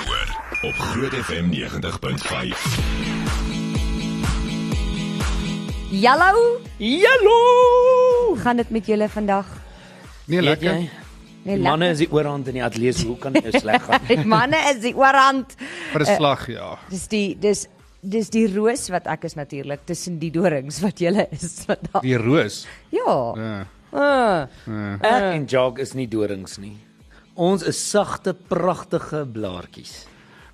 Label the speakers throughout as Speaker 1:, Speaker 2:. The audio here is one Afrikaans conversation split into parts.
Speaker 1: op Groot FM 90.5.
Speaker 2: Jalou,
Speaker 3: Hallo.
Speaker 2: hoe gaan dit met julle vandag?
Speaker 4: Nee, lekker.
Speaker 2: Nee,
Speaker 3: Die manne is die oorhand in die ateljee, so hoe kan dit nou sleg gaan?
Speaker 2: Die manne is die oorhand.
Speaker 4: Vir
Speaker 2: eh,
Speaker 4: 'n slag, ja.
Speaker 2: Dis die dis dis die roos wat ek is natuurlik tussen die dorings wat julle is vandag.
Speaker 4: Die roos.
Speaker 2: Ja.
Speaker 4: Ja.
Speaker 2: Uh,
Speaker 3: Ek en Jog is nie dorings nie. Ons is sagte, pragtige blaartjies.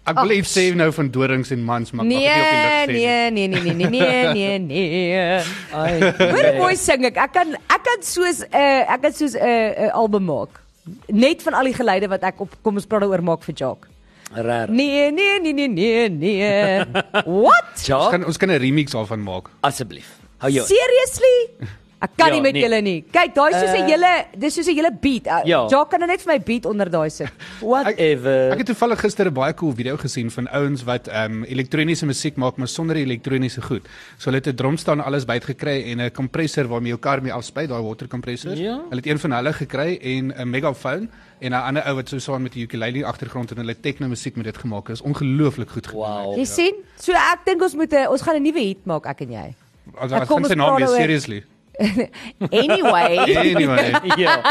Speaker 4: Ek wil iets sê nou van dorings en mans, maar ek mag dit
Speaker 2: nee,
Speaker 4: nie op die lig sê. nie. Ah,
Speaker 2: nee, nee, nee, nee, nee, nee, nee, nee.
Speaker 3: Ai.
Speaker 2: Hoor hoe mooi
Speaker 3: nee.
Speaker 2: sing ek. Ek kan ek kan soos 'n uh, ek kan soos 'n uh, uh, album maak. Net van al die geluide wat ek op kom ons praat oor maak vir Jock.
Speaker 3: Reg.
Speaker 2: Nee, nee, nee, nee, nee, nee. What?
Speaker 4: Ons
Speaker 3: Jog,
Speaker 4: kan ons kan 'n remix daarvan maak.
Speaker 3: asseblief. Hou jou.
Speaker 2: Seriously? Ek kan
Speaker 3: Ja,
Speaker 2: nie met
Speaker 3: nee.
Speaker 2: julle nie. Kyk, daai is soos 'n
Speaker 3: Eh.
Speaker 2: hele dis soos 'n hele beat. Uh,
Speaker 3: Ja.
Speaker 2: Jock kan nou net vir my beat onder daai sit.
Speaker 4: Ek
Speaker 3: Whatever.
Speaker 4: het toevallig gister 'n baie cool video gesien van ouens wat ehm um, elektroniese musiek maak maar sonder die elektroniese goed. So hulle het 'n drumstaan alles byt gekry en 'n kompressor waarmee jou kar mee afspuit, daai water kompressor.
Speaker 3: Ja.
Speaker 4: Hulle het een van hulle gekry en 'n megafoon en 'n ander ou wat so saam met die ukulele agtergrond en hulle techno musiek met dit gemaak het. Is ongelooflik goed gedoen.
Speaker 3: Wow.
Speaker 2: Jy sien? So ek dink ons moet 'n ons gaan 'n nuwe hit maak ek en jy.
Speaker 4: Also,
Speaker 2: Ek
Speaker 4: ek
Speaker 2: kom
Speaker 4: gaan
Speaker 2: ons
Speaker 4: sy naam
Speaker 2: praat
Speaker 4: weer
Speaker 2: oor-
Speaker 4: seriously. Nee,
Speaker 2: Anyway,
Speaker 4: Anyway.
Speaker 3: Ja.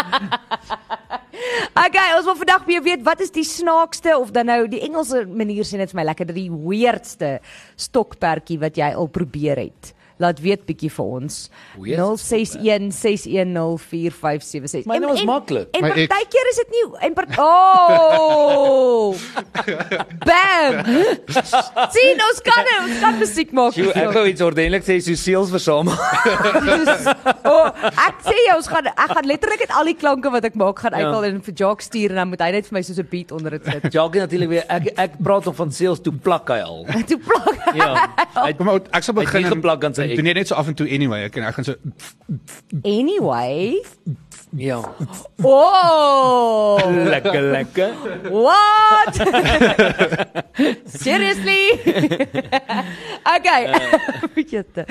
Speaker 2: okay, ons wil vandag weer weet wat is die snaakste of dan nou die Engelse manier sê dit vir my lekker dat die weirdste stokperdjie wat jy al probeer het. Laat weet bietjie vir ons.
Speaker 3: Weird
Speaker 2: 0616104576.
Speaker 3: Maar
Speaker 2: En-
Speaker 3: nou is
Speaker 2: en-
Speaker 3: maklik.
Speaker 2: En
Speaker 4: My ex.
Speaker 2: partykeer is dit nie en part Oh! Bam! Sien ons kan ons kan musiek maak.
Speaker 3: Jy ek wou iets ordentlik sê so seels versamel.
Speaker 2: Soos- oh, ek sê jou ons gaan ek gaan letterlik net al die klanke wat ek maak gaan uithaal en vir Jock stuur en dan moet hy net vir my soos 'n beat onder dit sit.
Speaker 3: Jog het natuurlik weer ek ek praat nog van seels toe plak hy al.
Speaker 2: Toe plak.
Speaker 3: Ja. Hy
Speaker 4: Kom maar ek sal
Speaker 3: Hy het
Speaker 4: begin.
Speaker 3: nie geplak aan sy ek.
Speaker 4: Doen net so af en toe anyway. Ek en ek gaan so
Speaker 2: Anyway.
Speaker 3: ja.
Speaker 2: Oh!
Speaker 3: Lekker lekker.
Speaker 2: What? Seriously? okay.
Speaker 3: Eh.
Speaker 2: Jette.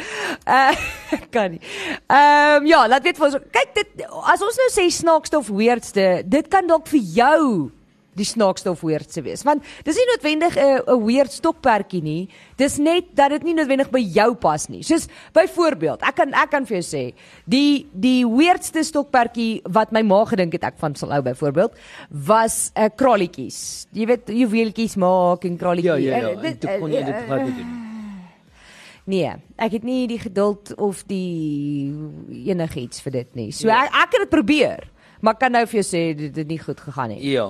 Speaker 2: Uh, kan nie. Ehm um, ja, laat weet vir ons. Kyk dit as ons nou sê snaakste of weirdste, dit kan dalk vir jou die snaakste of weirdste wees. Want dis nie noodwendig 'n 'n weird stokperdjie nie. Dis net dat dit nie noodwendig by jou pas nie. Soos byvoorbeeld, ek kan ek kan vir jou sê, die die weirdste stokperdjie wat my ma gedink het ek van sal hou byvoorbeeld, was 'n uh, kralletjies. Jy weet, juweeltjies maak en
Speaker 3: Ja
Speaker 2: kralletjies.
Speaker 3: ja ja.
Speaker 2: Eh,
Speaker 3: En
Speaker 2: dit-
Speaker 3: toe kon jy dit glad nie doen.
Speaker 2: Nee, ek het nie die geduld of die enigiets vir dit nie. So
Speaker 3: Ja.
Speaker 2: ek, ek het dit probeer, maar ek kan nou vir jou sê dit het nie goed gegaan nie.
Speaker 3: Ja.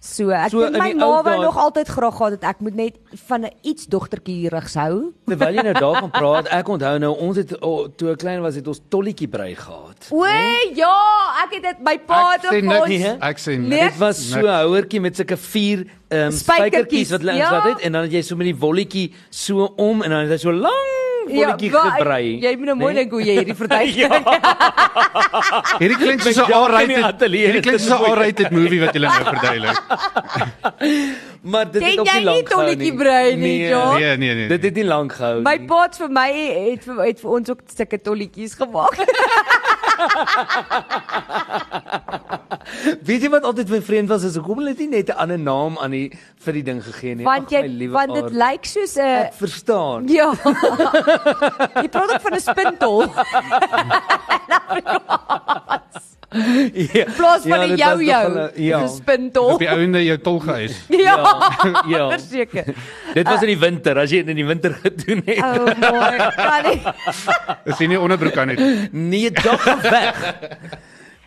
Speaker 2: So ek
Speaker 3: So
Speaker 2: so,
Speaker 3: in
Speaker 2: my
Speaker 3: die
Speaker 2: ma
Speaker 3: ou
Speaker 2: wou
Speaker 3: dae-
Speaker 2: nog altyd graag gehad het ek moet net van 'n iets dogtertjie regs hou.
Speaker 3: Terwyl jy nou daarvan praat, ek onthou nou ons het oh, toe ek klein was het ons tolletjie brei gehad.
Speaker 2: O ja, ek het dit my pa
Speaker 4: Ek
Speaker 2: het ook
Speaker 4: sien
Speaker 2: vir
Speaker 4: niks.
Speaker 2: ons.
Speaker 4: Ek sien
Speaker 2: Nee.
Speaker 4: niks.
Speaker 3: Dit was so 'n houertjie met sulke vier ehm um,
Speaker 2: Spykertjies,
Speaker 3: spykertjies wat hulle
Speaker 2: ja.
Speaker 3: ingesit het en dan het jy so met die wolletjie so om en dan het hy so lank wolletjie ja,
Speaker 2: wa-
Speaker 3: gebrei. Ja.
Speaker 2: Jy moet nou mooi
Speaker 3: Nee?
Speaker 2: dink hoe jy hierdie verduidelik.
Speaker 3: Ah,
Speaker 4: Hierdie klink soos
Speaker 3: Met
Speaker 4: 'n
Speaker 3: Jacques in die
Speaker 4: R-rated.
Speaker 3: ateljee,
Speaker 4: Hierdie klink
Speaker 3: dit is
Speaker 4: soos 'n
Speaker 3: moeilik.
Speaker 4: R-rated movie wat jy nou verduidelik.
Speaker 3: Maar dit
Speaker 2: Ken
Speaker 3: het ook
Speaker 2: jy
Speaker 3: nie
Speaker 2: nie
Speaker 3: lank gehou nie.
Speaker 2: tolletjie brei nie, John?
Speaker 4: Nee, nee, nee.
Speaker 3: Dit het nie lank gehou
Speaker 2: My
Speaker 3: nie.
Speaker 2: pa het vir my het vir, het vir ons ook sulke tolletjies gemaak.
Speaker 3: Weet jy wat altyd my vreemd was is hoekom hulle dit nie net 'n ander naam aan die vir die ding gegee nie.
Speaker 2: want
Speaker 3: Ag, my
Speaker 2: jy
Speaker 3: liewe
Speaker 2: want dit
Speaker 3: aard.
Speaker 2: lyk soos 'n
Speaker 3: ek verstaan.
Speaker 2: Ja. Die produk van 'n spintol.
Speaker 3: Ja,
Speaker 2: Plaas van
Speaker 3: ja,
Speaker 2: 'n
Speaker 3: dit was
Speaker 2: jou-jou.
Speaker 3: nogal 'n-
Speaker 2: Ja.
Speaker 3: Ja.
Speaker 2: 'n spintol.
Speaker 4: Op die ouende jou tol geëis.
Speaker 2: Ja,
Speaker 3: Ja, ja.
Speaker 2: verseker.
Speaker 3: Dit was in die winter, as jy dit in die winter gedoen het.
Speaker 2: O, oh, er- mooi. Kan nie.
Speaker 4: Dis nie onderbroek aan het.
Speaker 3: Nee, dog weg.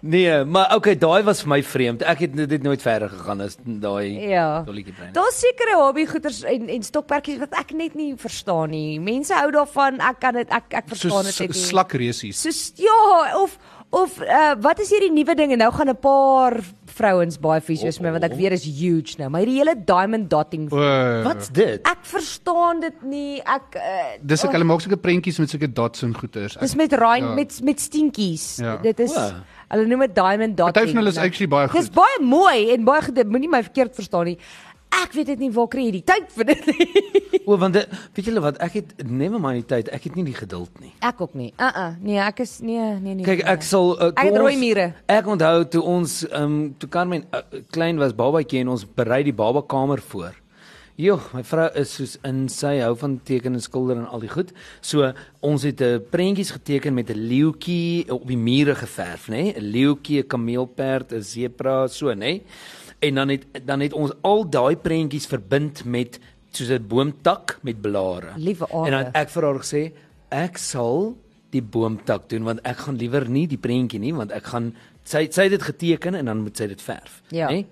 Speaker 3: Nee, maar okay, daai was vir my vreemd. Ek het dit nooit verder gegaan as daai
Speaker 2: Ja.
Speaker 3: dolletjie brein.
Speaker 2: Daar's sekere hobby goeters en en stokperdjies wat ek net nie verstaan nie. Mense hou daarvan. Ek kan dit ek ek verstaan dit
Speaker 4: Soos
Speaker 2: net nie.
Speaker 4: slakreesies.
Speaker 2: Soos ja, of of uh, wat is hierdie nuwe ding en nou gaan 'n paar vrouens baie fisies mee want ek weet is huge nou, maar hierdie hele diamond dotting.
Speaker 4: Oh. O.
Speaker 3: Wat's dit?
Speaker 2: Ek verstaan dit nie. Ek uh,
Speaker 4: Dis ek hulle maak sulke prentjies met sulke dots en goeters.
Speaker 2: Dis met rein ja.
Speaker 4: Ja.
Speaker 2: met met steentjies. Ja.
Speaker 4: Ja.
Speaker 2: Dit is
Speaker 3: O.
Speaker 2: hulle noem dit diamond dot.
Speaker 4: Party van hulle is actually baie
Speaker 2: Dis
Speaker 4: goed.
Speaker 2: baie mooi en baie goed. dit Moenie my verkeerd verstaan nie. Ek weet dit nie waar kry jy die tyd vir dit nie.
Speaker 3: O, want dit, weet julle wat, ek het never mind die tyd, ek het nie die geduld nie.
Speaker 2: Ek ook nie. Uh uh. Nee, ek is nee, nee nee.
Speaker 3: Kyk, ek sal uh,
Speaker 2: Ek het rooi mure.
Speaker 3: Ek onthou toe eh, ons ehm um, toe Carmen uh, klein was, babatjie en ons berei die babakamer voor. Jo, my vrou is soos in sy hou van teken en skilder en al die goed. So ons het 'n prentjies geteken met 'n leeuetjie op die mure geverf, nê? 'n Leeuetjie, 'n kameelperd, 'n sebra, so, nê? En dan het dan het ons al daai prentjies verbind met soos 'n boomtak met blare.
Speaker 2: Liewe aarde.
Speaker 3: En dan het ek vir haar gesê, ek sal die boomtak doen want ek gaan liewer nie die prentjie nie want ek gaan sy sy het dit geteken en dan moet sy dit verf,
Speaker 2: Ja.
Speaker 3: nê?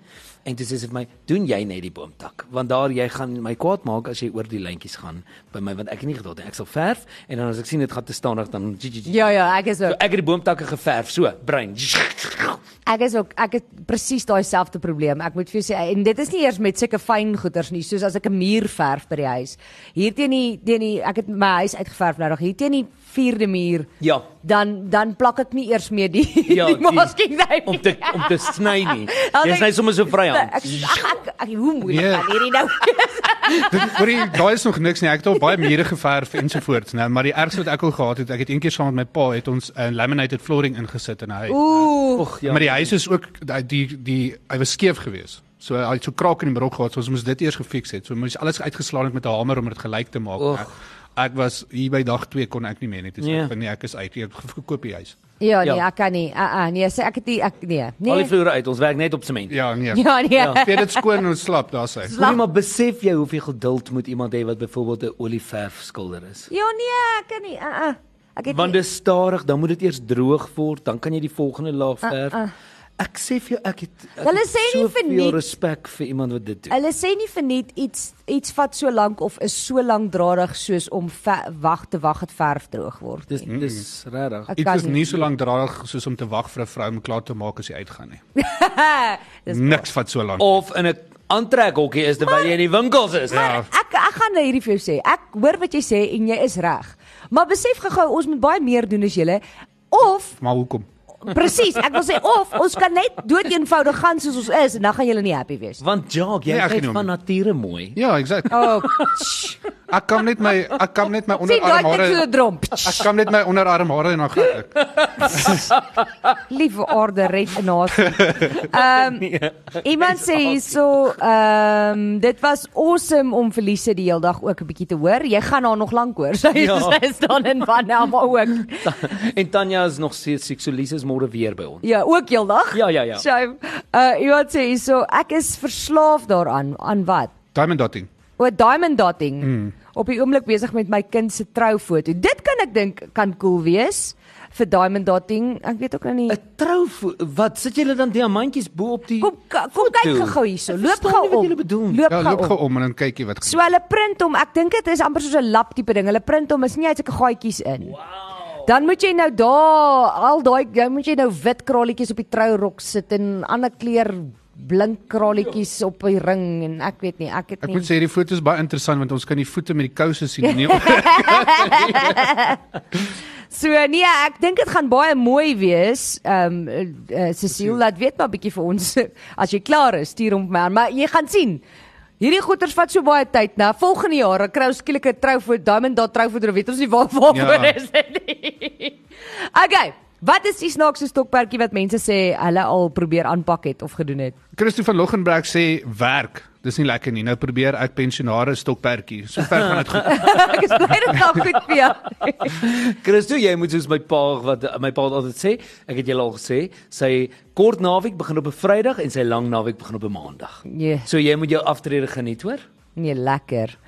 Speaker 3: En dis is vir my, doen jy net die boomtak, want daar jy gaan my kwaad maak as jy oor die lyntjies gaan by my want ek het nie geduld nie. Ek sal verf en dan as ek sien dit gaan te stadig dan
Speaker 2: Ja ja, ek is
Speaker 3: So
Speaker 2: ook.
Speaker 3: ek het die boomtakke geverf, so, brein.
Speaker 2: Ek is ook ek het presies daai selfde probleem. Ek moet vir jou sê en dit is nie eers met sulke fyn goeders nie, soos as ek 'n muur verf by die huis. Hier teen die teen die ek het my huis uitgeverf nou nog hier teen die vierde muur.
Speaker 3: Ja.
Speaker 2: Dan dan plak ek nie eers meer die
Speaker 3: Ja,
Speaker 2: ja, die
Speaker 3: die-
Speaker 2: masking daar
Speaker 3: Om te om te sny
Speaker 2: Dan
Speaker 3: nie. Jy
Speaker 2: denk- Nee,
Speaker 3: sny Ja, sommer so vryhand.
Speaker 2: Ek sê ag ek, ek hoe moeilik
Speaker 4: Nee.
Speaker 2: gaan hierdie nou.
Speaker 4: Dit hoor jy, daai is nog niks nie. Ek het al baie mure geverf ensovoorts, nou, maar die ergste wat ek al gehad het, ek het eendag saam met my pa het ons 'n uh, laminated flooring ingesit in 'n huis.
Speaker 2: Ooh.
Speaker 3: Och
Speaker 4: Ja, maar die huis is ook die die, die hy was skeef geweest. So hy het so kraak in die brok gehad, so ons moes dit eers gefiks het. So moes alles uitgeslaan het met 'n hamer om dit gelyk te maak.
Speaker 3: Och.
Speaker 4: Ek, ek was hier by dag 2 kon ek nie meer net sê
Speaker 3: Nee.
Speaker 4: yeah. nee, ek is uit. Ek het gekoop die huis.
Speaker 2: Ja nee,
Speaker 3: Ja.
Speaker 2: ek kan nie. Ah ah nee, sê ek het nie ek nee.
Speaker 3: al die
Speaker 2: Nee.
Speaker 3: vloere uit. Ons werk net op sement.
Speaker 4: Ja, nee. Ja.
Speaker 2: Ja nee. Ja.
Speaker 4: Vir dit skoon en slap daar sê.
Speaker 3: Hoor jy maar besef jy hoeveel geduld moet iemand hê wat byvoorbeeld 'n olieverf skilder is.
Speaker 2: Ja nee, ek kan nie. Ah ah. Ek het
Speaker 3: Want
Speaker 2: nie,
Speaker 3: dit is stadig, dan moet dit eers droog word, dan kan jy die volgende laag
Speaker 2: Ah,
Speaker 3: verf.
Speaker 2: ah.
Speaker 3: Ek sê vir jou, ek het ek
Speaker 2: Hulle
Speaker 3: het
Speaker 2: sê nie vir niks.
Speaker 3: soveel respek vir iemand wat dit doen.
Speaker 2: Hulle sê nie verniet iets iets vat so lank of is so lankdradig soos om ve- wag te wag dat verf droog word.
Speaker 3: Dis
Speaker 4: Mm.
Speaker 2: nie.
Speaker 3: dis regtig.
Speaker 2: Ek
Speaker 4: Dit
Speaker 2: kan
Speaker 4: is nie so lank draag soos om te wag vir 'n vrou om klaar te maak as sy uitgaan nie.
Speaker 2: Dis
Speaker 4: Niks vat so lank.
Speaker 3: of in 'n aantrekhokkie is terwyl jy in die winkels is.
Speaker 4: Ja.
Speaker 2: Ek ek gaan nou hierdie vir jou sê. Ek hoor wat jy sê en jy is reg. Maar besef gou-gou ons moet baie meer doen as julle of
Speaker 4: Maar hoekom?
Speaker 2: presies, ek wil sê of ons kan net doodeenvoudig gaan soos ons is en dan gaan julle nie happy wees.
Speaker 3: Want Jacques, jy
Speaker 4: Nee, ek
Speaker 3: nee,
Speaker 4: genoem.
Speaker 3: is van nature mooi.
Speaker 4: Ja, exactly.
Speaker 2: Oh,
Speaker 4: Ek kan net my ek kan net my
Speaker 2: sien daai ding so
Speaker 4: onderarmhare
Speaker 2: dromp.
Speaker 4: ek kan net my onderarmhare en dan gaan ek.
Speaker 2: Liewe orde red in haar. Ehm
Speaker 3: Nee.
Speaker 2: iemand sê hierso ehm dit was awesome om Verliese die hele dag ook 'n bietjie te hoor. Jy gaan haar nog lank hoor. Sy
Speaker 3: Ja.
Speaker 2: ja. sy staan in van nou maar ook.
Speaker 3: en Tanya is nog steeds siek, so Lise is môre weer by ons.
Speaker 2: Ja, ook heel dag.
Speaker 3: Ja, ja, ja.
Speaker 2: So, uh iemand sê hierso ek is verslaaf daaraan aan wat?
Speaker 4: Diamond dotting.
Speaker 2: O, diamond dotting. Mm. Op die oomblik besig met my kind se troufoto. Dit kan ek dink kan cool wees vir diamond dotting. Ek weet ook nou nie.
Speaker 3: 'n Trou wat sit julle dan diamantjies bo op die
Speaker 2: Kom ka- kom kyk
Speaker 3: foto?
Speaker 2: gou-gou hierso.
Speaker 3: Ek
Speaker 2: Loop
Speaker 3: verstaan
Speaker 2: gou
Speaker 3: nie Wat
Speaker 2: om.
Speaker 3: julle bedoel? nie.
Speaker 2: Loop
Speaker 4: Ja,
Speaker 2: gou
Speaker 4: loop
Speaker 2: om.
Speaker 4: gou om en dan kyk jy wat
Speaker 2: So hulle print hom. Ek dink dit is amper soos 'n lap tipe ding. Hulle print hom, is nie uit sulke gaatjies in. Wow. Dan moet jy nou daar al daai dan moet jy nou wit kraalletjies op die trourok sit en ander kleur blink kraalletjies op die ring en ek weet nie, ek het
Speaker 4: Ek
Speaker 2: nie.
Speaker 4: moet sê hierdie foto is baie interessant want ons kan die voete met die kouse sien Nee, nie. op-
Speaker 2: So nee, ek dink dit gaan baie mooi wees. Ehm um, uh, Cecile, laat weet maar bietjie vir ons as jy klaar is, stuur hom vir my aan, maar jy gaan sien. Hierdie goeters vat so baie tyd, né? Volgende jaar dan kry ons skielik 'n trou vir Diamond Dot trou vir weet ons nie waar waarvoor
Speaker 4: Ja.
Speaker 2: ja. is dit nie. Okay, wat is die snaakse stokperdjie wat mense sê hulle al probeer aanpak het of gedoen het?
Speaker 4: Christo van Loggenberg sê werk. Dis nie lekker nie. Nou probeer ek pensionaars stokperdjie. So ver gaan dit goed.
Speaker 2: ek is bly dit gaan goed vir jou.
Speaker 3: Christo, jy moet soos my pa wat my pa altyd sê, ek het julle al gesê, sy kort naweek begin op 'n Vrydag en sy lang naweek begin op 'n Maandag.
Speaker 2: Ja.
Speaker 3: So jy moet jou aftrede geniet, hoor?
Speaker 2: Nee, lekker.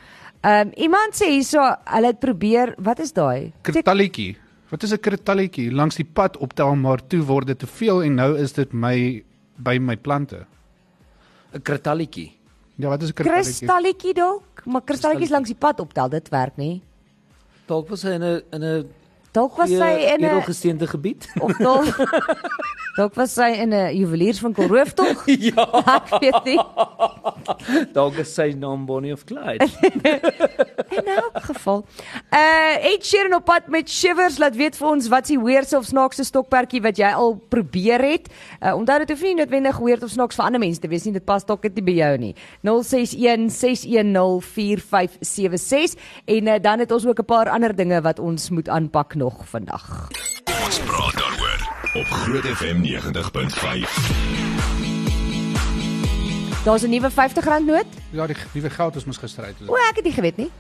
Speaker 2: Ehm um, iemand sê hierso hulle het probeer, wat is daai?
Speaker 4: Kritalletjie. Wat is 'n kritalletjie? Langs die pad optel maar toe word dit te veel en nou is dit my by my plante.
Speaker 3: 'n Kratalletjie.
Speaker 4: Ja, wat is 'n kritalletjie?
Speaker 2: kristalletjie dalk, maar kristalletjies langs die pad optel, dit werk nie.
Speaker 3: Dalk was hy in 'n in 'n
Speaker 2: Dalk was sy in 'n
Speaker 3: gesteende gebied.
Speaker 2: of dalk dalk was sy in 'n juwelierswinkel roof tog.
Speaker 3: ja,
Speaker 2: Ek weet nie.
Speaker 3: dalk is sy naam Bonnie of Clyde.
Speaker 2: In elk geval. Uh Ed Sheeran op pad met Shivers laat weet vir ons wat se weerse of snaakse stokperdjie wat jy al probeer het. Uh onthou dit hoef nie noodwendig weerd of snaaks vir ander mense te wees nie. Dit pas dalk net nie by jou nie. 0616104576 en uh, dan het ons ook 'n paar ander dinge wat ons moet aanpak nog vandag.
Speaker 1: Ons praat daaroor op Groot FM 90.5.
Speaker 2: Daar's 'n nuwe R50 noot.
Speaker 4: Ja, die nuwe geld is mos gister uit.
Speaker 2: O, ek het nie geweet nie.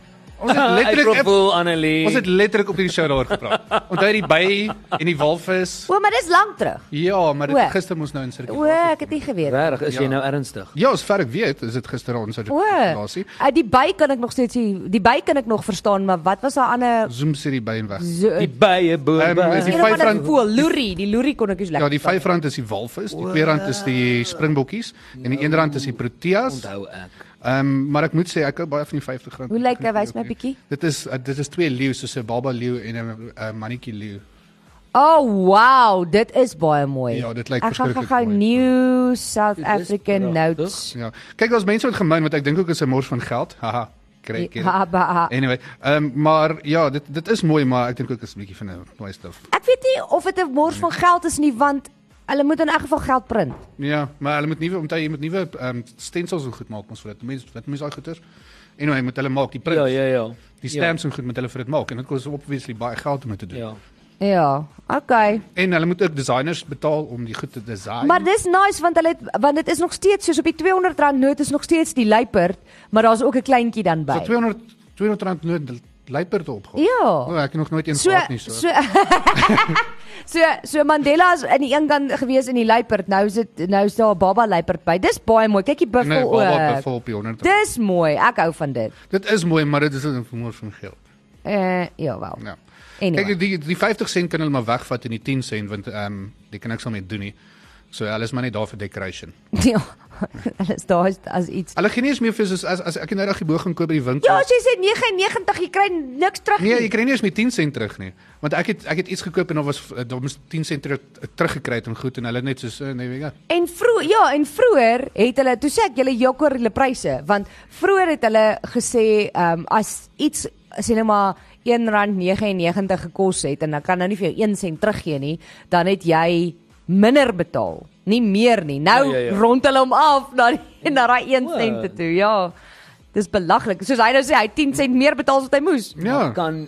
Speaker 4: Ons het
Speaker 3: Ek
Speaker 4: letterlik
Speaker 3: probeer Annelie.
Speaker 4: ons het letterlik op hierdie show daaroor gepraat. Onthou die by en die walvis.
Speaker 2: O, maar dis lank terug.
Speaker 4: Ja, maar
Speaker 2: O.
Speaker 4: dit gister moes nou in
Speaker 2: O,
Speaker 4: sirkulasie.
Speaker 2: ek het nie geweet. nie.
Speaker 3: Regtig, is jy
Speaker 4: Ja.
Speaker 3: nou ernstig?
Speaker 4: Ja, as ver ek weet, is dit gister ons uit die
Speaker 2: O.
Speaker 4: sirkulasie.
Speaker 2: Uh, die by kan ek nog steeds nie- die by kan ek nog verstaan, maar wat was daai ander
Speaker 4: Zoom sit die by en weg.
Speaker 2: zo-
Speaker 3: Die bye boer.
Speaker 4: Ehm, is
Speaker 3: by.
Speaker 4: die
Speaker 2: Een of ander
Speaker 4: R5
Speaker 2: voël, loerie, die loerie kon ek nie
Speaker 4: Ja,
Speaker 2: lekker.
Speaker 4: die R5 is die walvis, die R2 is die springbokkies en die R1 is die proteas.
Speaker 3: Onthou ek.
Speaker 4: Ehm um, maar ek moet sê ek hou baie van die R50.
Speaker 2: Hoe lyk hy? Wys my bietjie.
Speaker 4: Dit is uh, dit is twee leeu, soos 'n baba leeu en 'n uh, mannetjie leeu.
Speaker 2: Oh wow, dit is baie mooi.
Speaker 4: Ja, dit lyk
Speaker 2: Ek gaan
Speaker 4: verskriklik
Speaker 2: gou-gou
Speaker 4: mooi.
Speaker 2: New South
Speaker 3: Dit is
Speaker 2: African
Speaker 3: pragtig.
Speaker 2: Notes.
Speaker 4: Ja. Kyk, daar's mense wat gemeen wat ek dink ook is 'n mors van geld. Haha. Kry ek.
Speaker 2: Ha, ba, ha.
Speaker 4: Anyway, ehm um, maar ja, dit dit is mooi, maar ek dink ook is 'n bietjie van 'n mooi stof.
Speaker 2: Ek weet nie of dit 'n mors van geld is nie, want hulle moet in elk geval geld print.
Speaker 4: Ja, maar hulle moet nuwe omtrent jy moet nuwe ehm um, stencils en goed maak ons vir dit. Mense wat mense daai goeters. Anyway, moet hulle maak die print.
Speaker 3: Ja, ja, ja.
Speaker 4: Die stamps ja. en goed moet hulle vir dit maak en dit kos obviously baie geld om dit te doen.
Speaker 3: Ja.
Speaker 4: Ja.
Speaker 3: ja.
Speaker 2: Ja, okay.
Speaker 4: En hulle moet ook designers betaal om die goed te design.
Speaker 2: Maar dis nice want hulle het, want dit is nog steeds soos op die R200 noot is nog steeds die luiperd, maar daar's ook 'n kleintjie dan
Speaker 4: so
Speaker 2: by.
Speaker 4: 200 200 rand nood luiperd opgehaal. O,
Speaker 2: Ja.
Speaker 4: ek het nog nooit een
Speaker 2: So
Speaker 4: gehad nie so.
Speaker 2: so So so Mandela is aan die een kant gewees in die luiperd. Nou is dit nou is daar 'n baba luiperd by. Dis baie mooi. Kyk die
Speaker 4: nee,
Speaker 2: buffel
Speaker 4: baba
Speaker 2: ook.
Speaker 4: beval op die 100. Dit,
Speaker 2: Dis mooi. Ek hou van eh, dit.
Speaker 4: dit is mooi, maar dit is 'n vermoor van geld.
Speaker 2: Eh ja wel.
Speaker 4: Ja.
Speaker 2: Anyway.
Speaker 4: Kyk die die 50 sent kan hulle maar wegvat in die 10 sent want ehm um, jy kan niks daarmee doen nie. So hulle is maar net daar vir decoration.
Speaker 2: Ja. Hulle is daar as- as iets.
Speaker 4: Hulle gee nie eens meer vir soos as as ek nou reg die boog gaan koop by die winkel.
Speaker 2: Ja, as jy sê 99, jy kry niks terug nie.
Speaker 4: Nee, jy kry nie eens meer 10 sent terug nie. Want ek het ek het iets gekoop en daar was eh, daar moes 10 sent terug eh, teruggekry het en goed en hulle net soos eh, nee, weet jy.
Speaker 2: En vroeg ja, en vroeër het hulle toe sê ek julle jokker hulle pryse want vroeër het hulle gesê ehm um, as iets sê nou maar R1.99 gekos het en dan kan nou nie vir jou 1 sent teruggee nie, dan het jy minder betaal, nie meer nie. Nou
Speaker 3: Ja,
Speaker 2: ja,
Speaker 3: ja, ja.
Speaker 2: rond hulle hom af na die, na daai 1
Speaker 3: Wat?
Speaker 2: sent toe. Ja. Dis belaglik. Soos hy nou sê hy het 10 sent meer betaal as wat hy moes.
Speaker 4: Ja.
Speaker 3: Maar Kan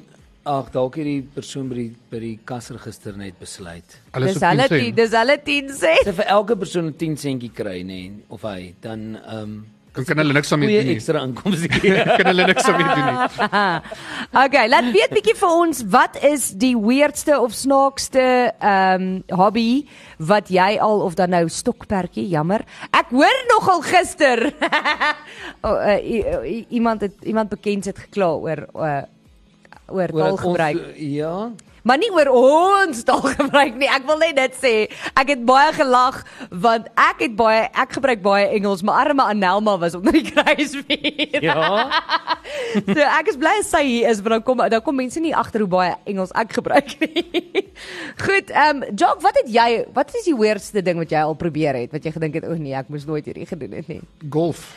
Speaker 3: ag dalk hierdie persoon by die by die kasregister net besluit.
Speaker 4: Alles
Speaker 2: dis hulle die,
Speaker 4: sent.
Speaker 2: dis hulle 10 sent.
Speaker 3: As hy vir elke persoon 'n 10 sentjie kry nê nee, of hy dan ehm um,
Speaker 4: Dan kan hulle niks aan mee
Speaker 3: goeie
Speaker 4: doen nie.
Speaker 3: ekstra inkomste gee.
Speaker 4: Kan hulle niks aan mee doen nie.
Speaker 2: Okay, laat weet bietjie vir ons wat is die weirdste of snaakste ehm um, hobby wat jy al of dan nou stokperdjie, jammer. Ek hoor nogal gister. oh, uh, i- i- iemand het iemand bekend het gekla oor uh, oor
Speaker 3: Oor dat
Speaker 2: taalgebruik.
Speaker 3: ons-
Speaker 4: eh,
Speaker 3: Ja.
Speaker 2: Maar nie oor ons taalgebruik nie. Ek wil net dit sê. Ek het baie gelag want ek het baie ek gebruik baie Engels. My arme Anelma was onder die kruisvuur.
Speaker 3: Ja.
Speaker 2: So ek is bly as sy hier is, want dan kom dan kom mense nie agter hoe baie Engels ek gebruik nie. Goed, ehm um, Jock, wat het jy wat is die weirdste ding wat jy al probeer het wat jy gedink het o nee, ek moes nooit hierdie gedoen het nie.
Speaker 4: Golf.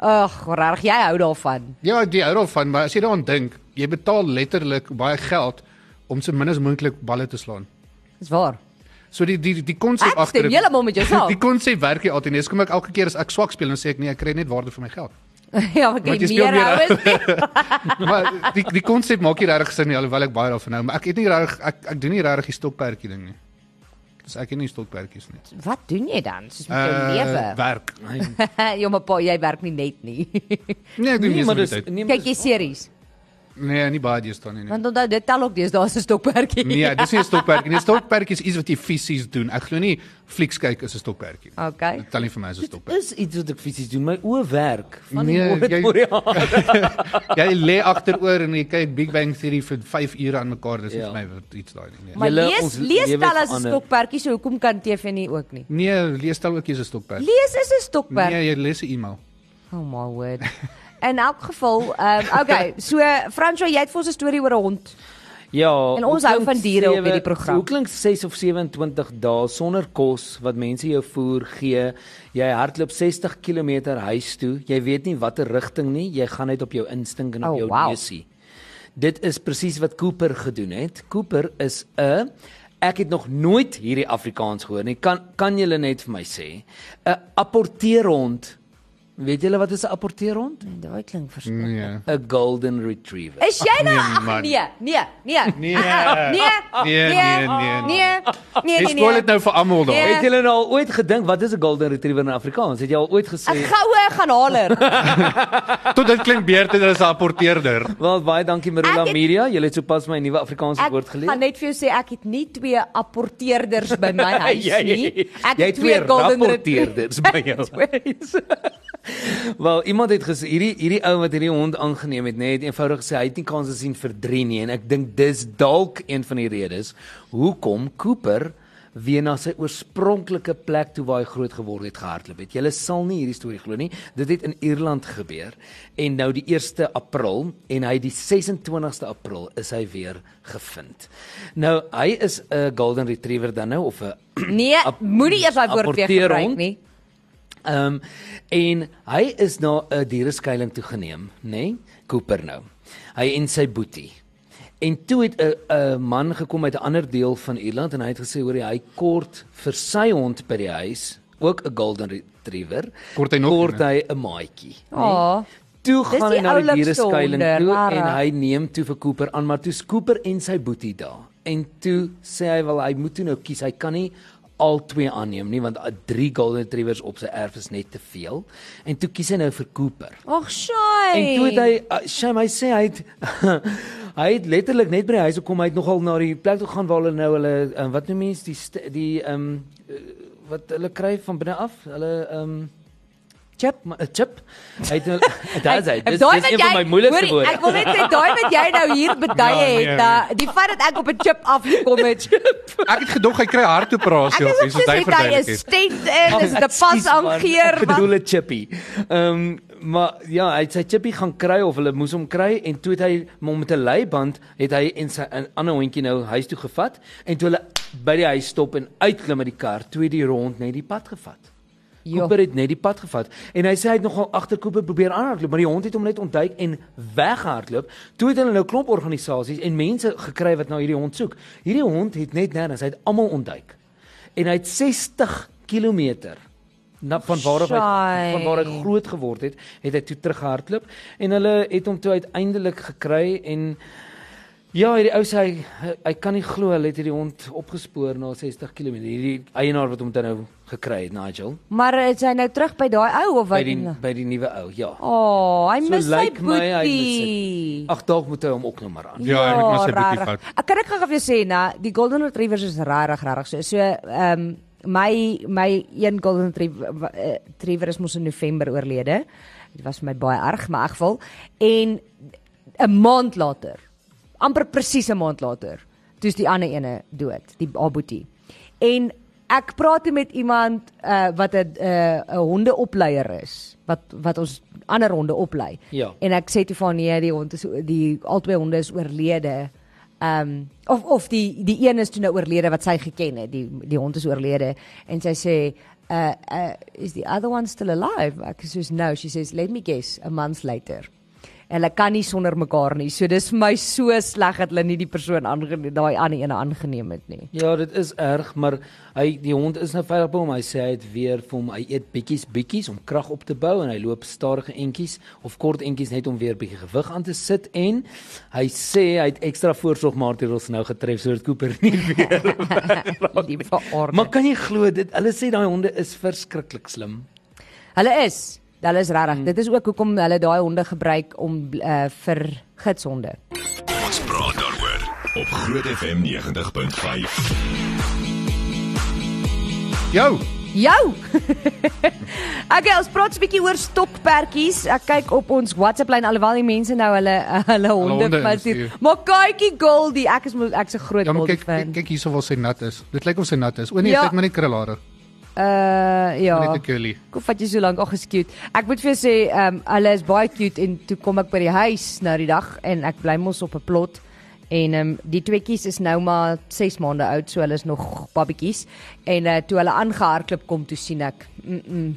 Speaker 2: Ag, regtig, jy hou daarvan.
Speaker 4: Ja, die hou daarvan, maar as jy daaraan dink, jy betaal letterlik baie geld om so min as moontlik balle te slaan.
Speaker 2: Dis waar.
Speaker 4: So die die die konsep
Speaker 2: Ek stem
Speaker 4: dit-
Speaker 2: heeltemal met jou saam.
Speaker 4: Die konsep werk nie altyd nie. Dis kom ek elke keer as ek swak speel dan sê ek nee, ek kry net waarde vir my geld.
Speaker 2: ja, maar
Speaker 4: Want
Speaker 2: jy
Speaker 4: jy speel
Speaker 2: meer
Speaker 4: meer,
Speaker 2: hou is nie.
Speaker 4: maar die die konsep maak nie regtig sin nie alhoewel ek baie daarvan hou, maar ek het nie regtig ek ek doen nie regtig die stokperdjie ding nie. Dus ek het nie stokperdjies nie.
Speaker 2: Wat doen jy dan? Soos met jou
Speaker 4: Eh,
Speaker 2: lewe.
Speaker 4: werk.
Speaker 2: ja, maar pa, jy werk nie net nie.
Speaker 4: Nee, ek doen
Speaker 3: Nee,
Speaker 4: nie
Speaker 3: maar
Speaker 4: meer
Speaker 3: dis
Speaker 4: tyd.
Speaker 3: nee, maar
Speaker 2: Kyk
Speaker 3: dis-
Speaker 2: jy series.
Speaker 4: Nee, nie baie dis dan nie. nie.
Speaker 2: Want onthou dit tel ook deesdae as 'n stokperdjie.
Speaker 4: Nee, dis nie 'n stokperdjie nie. 'n Stokperdjie is iets wat jy fisies doen. Ek glo nie flieks kyk is 'n stokperdjie.
Speaker 2: Okay.
Speaker 4: Dit tel nie vir my as 'n stokperdjie.
Speaker 3: Is iets wat ek fisies doen, my oë werk van die
Speaker 4: Nee,
Speaker 3: woord
Speaker 4: jy-
Speaker 3: voor die hand.
Speaker 4: Jy lê agteroor en jy kyk Big Bang Theory vir 5 ure aan mekaar. Dis nie
Speaker 3: Ja.
Speaker 4: vir my wat iets daai nie. Nee.
Speaker 2: Maar
Speaker 3: Julle,
Speaker 2: lees
Speaker 3: ons
Speaker 2: lees
Speaker 3: lewe
Speaker 2: tel as 'n
Speaker 3: verander.
Speaker 2: stokperdjie, so hoekom kan TV nie ook nie?
Speaker 4: Nee, lees tel ook is 'n stokperdjie.
Speaker 2: Lees is 'n stokperdjie.
Speaker 4: Nee, jy lees 'n e-mail.
Speaker 2: Oh my word. In elk geval, ehm um, okay, so Franco, jy het vir ons 'n storie oor 'n hond.
Speaker 3: Ja.
Speaker 2: En ons
Speaker 3: hoe
Speaker 2: hou
Speaker 3: klink
Speaker 2: van diere op
Speaker 3: sewe-
Speaker 2: hierdie program.
Speaker 3: Hoe klink 6 of 27 dae sonder kos wat mense jou voer gee? Jy hardloop 60 km huis toe. Jy weet nie watter rigting nie. Jy gaan net op jou instink en op
Speaker 2: Oh,
Speaker 3: jou
Speaker 2: wow.
Speaker 3: neusie. Dit is presies wat Cooper gedoen het. Cooper is 'n ek het nog nooit hierdie Afrikaans gehoor nie. Kan kan julle net vir my sê? 'n Apporteerhond Weet julle wat is 'n apporteerhond?
Speaker 2: Daai klink verskriklik.
Speaker 4: Nee.
Speaker 3: 'n Golden Retriever.
Speaker 2: Is jy nou
Speaker 4: Nee,
Speaker 2: ag
Speaker 4: man.
Speaker 2: nee, nee, nee.
Speaker 4: Nee.
Speaker 2: Nee.
Speaker 4: Nee, nee, nee, nee.
Speaker 2: Nee. Nee,
Speaker 4: Dis
Speaker 2: nee,
Speaker 4: spoil
Speaker 2: nee.
Speaker 4: dit nou vir almal daar.
Speaker 2: Nee.
Speaker 3: Het julle nou al ooit gedink wat is 'n Golden Retriever in Afrikaans? Het jy al ooit
Speaker 2: 'n
Speaker 3: gesê?
Speaker 2: goue ganhaler.
Speaker 4: Tot dit klink beter as 'n apporteerder.
Speaker 3: Wel baie dankie Marula
Speaker 2: Ek het-
Speaker 3: Media. Jy het sopas my nuwe Afrikaanse woord
Speaker 2: Ek gaan
Speaker 3: geleer.
Speaker 2: net vir jou sê ek het nie twee apporteerders by my huis
Speaker 3: Jy-
Speaker 2: nie. Ek
Speaker 3: Ja, jy
Speaker 2: het twee golden
Speaker 3: rapporteerders by jou.
Speaker 2: retrievers.
Speaker 3: Wel, iemand het gesê hierdie hierdie ou wat hierdie hond aangeneem het, nê, nee, het eenvoudig gesê hy het nie kans gesien vir 3 nie en ek dink dis dalk een van die redes hoekom Cooper weer na sy oorspronklike plek toe waar hy groot geword het gehardloop het. Julle sal nie hierdie storie glo nie. Dit het in Ierland gebeur en nou die 1ste April en hy die 26ste April is hy weer gevind. Nou hy is 'n golden retriever dan nou of 'n
Speaker 2: Nee, moenie eers daai woord weer gebruik
Speaker 3: Apporteerhond.
Speaker 2: nie.
Speaker 3: Ehm um, en hy is na 'n diereskuiling toe geneem, nê? Nee? Cooper nou. Hy en sy boetie. En toe het 'n 'n man gekom uit 'n ander deel van Ierland en hy het gesê hoor jy, hy kort vir sy hond by die huis, ook 'n golden retriever.
Speaker 4: Kort hy nog
Speaker 3: kort
Speaker 4: een,
Speaker 3: hy 'n maatjie. nê?
Speaker 2: Ja.
Speaker 3: Toe
Speaker 2: Dis
Speaker 3: gaan hy
Speaker 2: die
Speaker 3: na die
Speaker 2: oulikste
Speaker 3: diereskuiling
Speaker 2: honder,
Speaker 3: toe en
Speaker 2: rarig.
Speaker 3: hy neem toe vir Cooper aan, maar toe is Cooper en sy boetie daar. En toe sê hy wel hy moet toe nou kies. Hy kan nie al twee aanneem nie want uh, drie golden retrievers op sy erf is net te veel. En toe kies hy nou vir Cooper.
Speaker 2: Ag, sjoe.
Speaker 3: En toe het hy uh, shame hy sê hy het hy het letterlik net by die huis gekom. Hy het nogal na die plek toe gaan waar hulle nou hulle uh, wat noem mense die st- die ehm um, wat hulle kry van binne af. Hulle ehm um, chip, 'n chip. Hy het nou daar's hy. Dis
Speaker 2: Daai wat
Speaker 3: dis een van
Speaker 2: jy-
Speaker 3: my moeilikste
Speaker 2: hoorie,
Speaker 3: woorde.
Speaker 2: Ek wil net sê daai wat jy nou hier betuie
Speaker 4: Ja, nee,
Speaker 2: het, da, die feit dat ek op 'n chip afgekom het.
Speaker 4: Ek het gedog hy kry
Speaker 2: Ek
Speaker 4: hartoperasie
Speaker 2: is
Speaker 4: of
Speaker 2: ook
Speaker 4: iets wat
Speaker 2: soos
Speaker 4: hy
Speaker 2: het hy
Speaker 4: verduidelik
Speaker 2: is
Speaker 4: het.
Speaker 2: stent in, is dit 'n
Speaker 3: Excuse,
Speaker 2: pas
Speaker 3: Oh, man,
Speaker 2: aangeer
Speaker 3: Ek
Speaker 2: wat
Speaker 3: bedoel 'n chippy. Ehm maar ja, hy het sy chippy gaan kry of hulle moes hom kry en toe het hy hom met 'n leiband het hy en sy 'n ander hondjie nou huis toe gevat en toe hulle by die huis stop en uitklim uit die kar, toe het die rond net die pad gevat.
Speaker 2: Jo.
Speaker 3: Cooper het net die pad gevat en hy sê hy het nogal agter Cooper probeer aanhardloop, maar die hond het hom net ontduik en weghardloop. Toe het hulle nou klomp organisasies en mense gekry wat nou hierdie hond soek. Hierdie hond het net nêrens, hy het almal ontduik. En hy het 60 kilometer na van waar af hy
Speaker 2: Shai.
Speaker 3: van waar hy groot geword het, het hy toe teruggehardloop en hulle het hom toe uiteindelik gekry en ja, hierdie ou sê hy hy- hy kan nie glo hulle het hierdie hond opgespoor na 60 km. Hierdie eienaar wat hom dan nou gekry het, Nigel,
Speaker 2: Maar is hy nou terug by daai ou of
Speaker 3: by
Speaker 2: wat?
Speaker 3: die by die nuwe ou, ja.
Speaker 2: O, oh, hy mis sy
Speaker 3: lyk my hy
Speaker 2: boetie.
Speaker 3: Ag, dalk moet hy hom ook nou maar aan.
Speaker 4: Ja, hy moet maar sy boetie
Speaker 2: rarig.
Speaker 4: vat.
Speaker 2: Ek kan ek gou-gou vir jou sê na, die golden retrievers is rarig rarig so. So ehm um, my my een golden retriever eh, retriever is mos in November oorlede. Dit was vir my baie erg, maar ek wil en 'n maand later, amper presies 'n maand later, toe's die ander ene dood, die haar boetie. En ek praat toe met iemand uh, wat 'n uh, 'n hondeopleier is, wat wat ons ander honde oplei.
Speaker 3: Ja.
Speaker 2: En ek sê toe van nee, die hond is die albei honde is oorlede. Ehm um, of of die die een is toe nou oorlede wat sy geken het. Die die hond is oorlede en sy sê uh, uh is the other one still alive? Ek sê no, she says let me guess a month later. En hulle kan nie sonder mekaar nie. So dis vir my so sleg dat hulle nie die persoon aangeneem daai ander een aangeneem het nie.
Speaker 3: Ja, dit is erg, maar hy die hond is nou veilig by hom. Hy sê hy het weer vir hom hy eet bietjies bietjies om krag op te bou en hy loop stadige entjies of kort entjies net om weer bietjie gewig aan te sit en hy sê hy het ekstra voorsorgmaatreëls nou getref sodat Cooper nie weer.
Speaker 2: Die verorde.
Speaker 3: maar kan jy glo dit? Hulle sê daai honde is verskriklik slim.
Speaker 2: Hulle is hulle is regtig. Dit is ook hoekom hulle daai honde gebruik om uh, vir gidshonde.
Speaker 1: Ons praat daaroor op Groot FM 90.5.
Speaker 4: Jou.
Speaker 2: Jou. okay, ons praat 'n bietjie oor stokperdjies. Ek kyk op ons WhatsApp lyn alhoewel die mense nou hulle hulle honde
Speaker 4: honde
Speaker 2: verstuur.
Speaker 4: instuur.
Speaker 2: Maar kykie Goldie, ek is mo- ek's 'n groot
Speaker 4: Ja, maar
Speaker 2: Goldie
Speaker 4: kyk kyk,
Speaker 2: fan.
Speaker 4: kyk hierso waar sy nat is. Dit lyk of sy nat is. O nee,
Speaker 2: Ja.
Speaker 4: dit lyk maar net krulhare.
Speaker 2: Uh ja.
Speaker 4: Net 'n curly.
Speaker 2: Kom vat jy so lank ag geskiet. Ek moet vir jou sê, ehm um, hulle is baie cute en toe kom ek by die huis nou die dag en ek bly mos op 'n plot en ehm um, die tweetjies is nou maar 6 maande oud, so hulle is nog babbetjies en uh, toe hulle aangehardloop kom toe sien ek. Mm. -mm,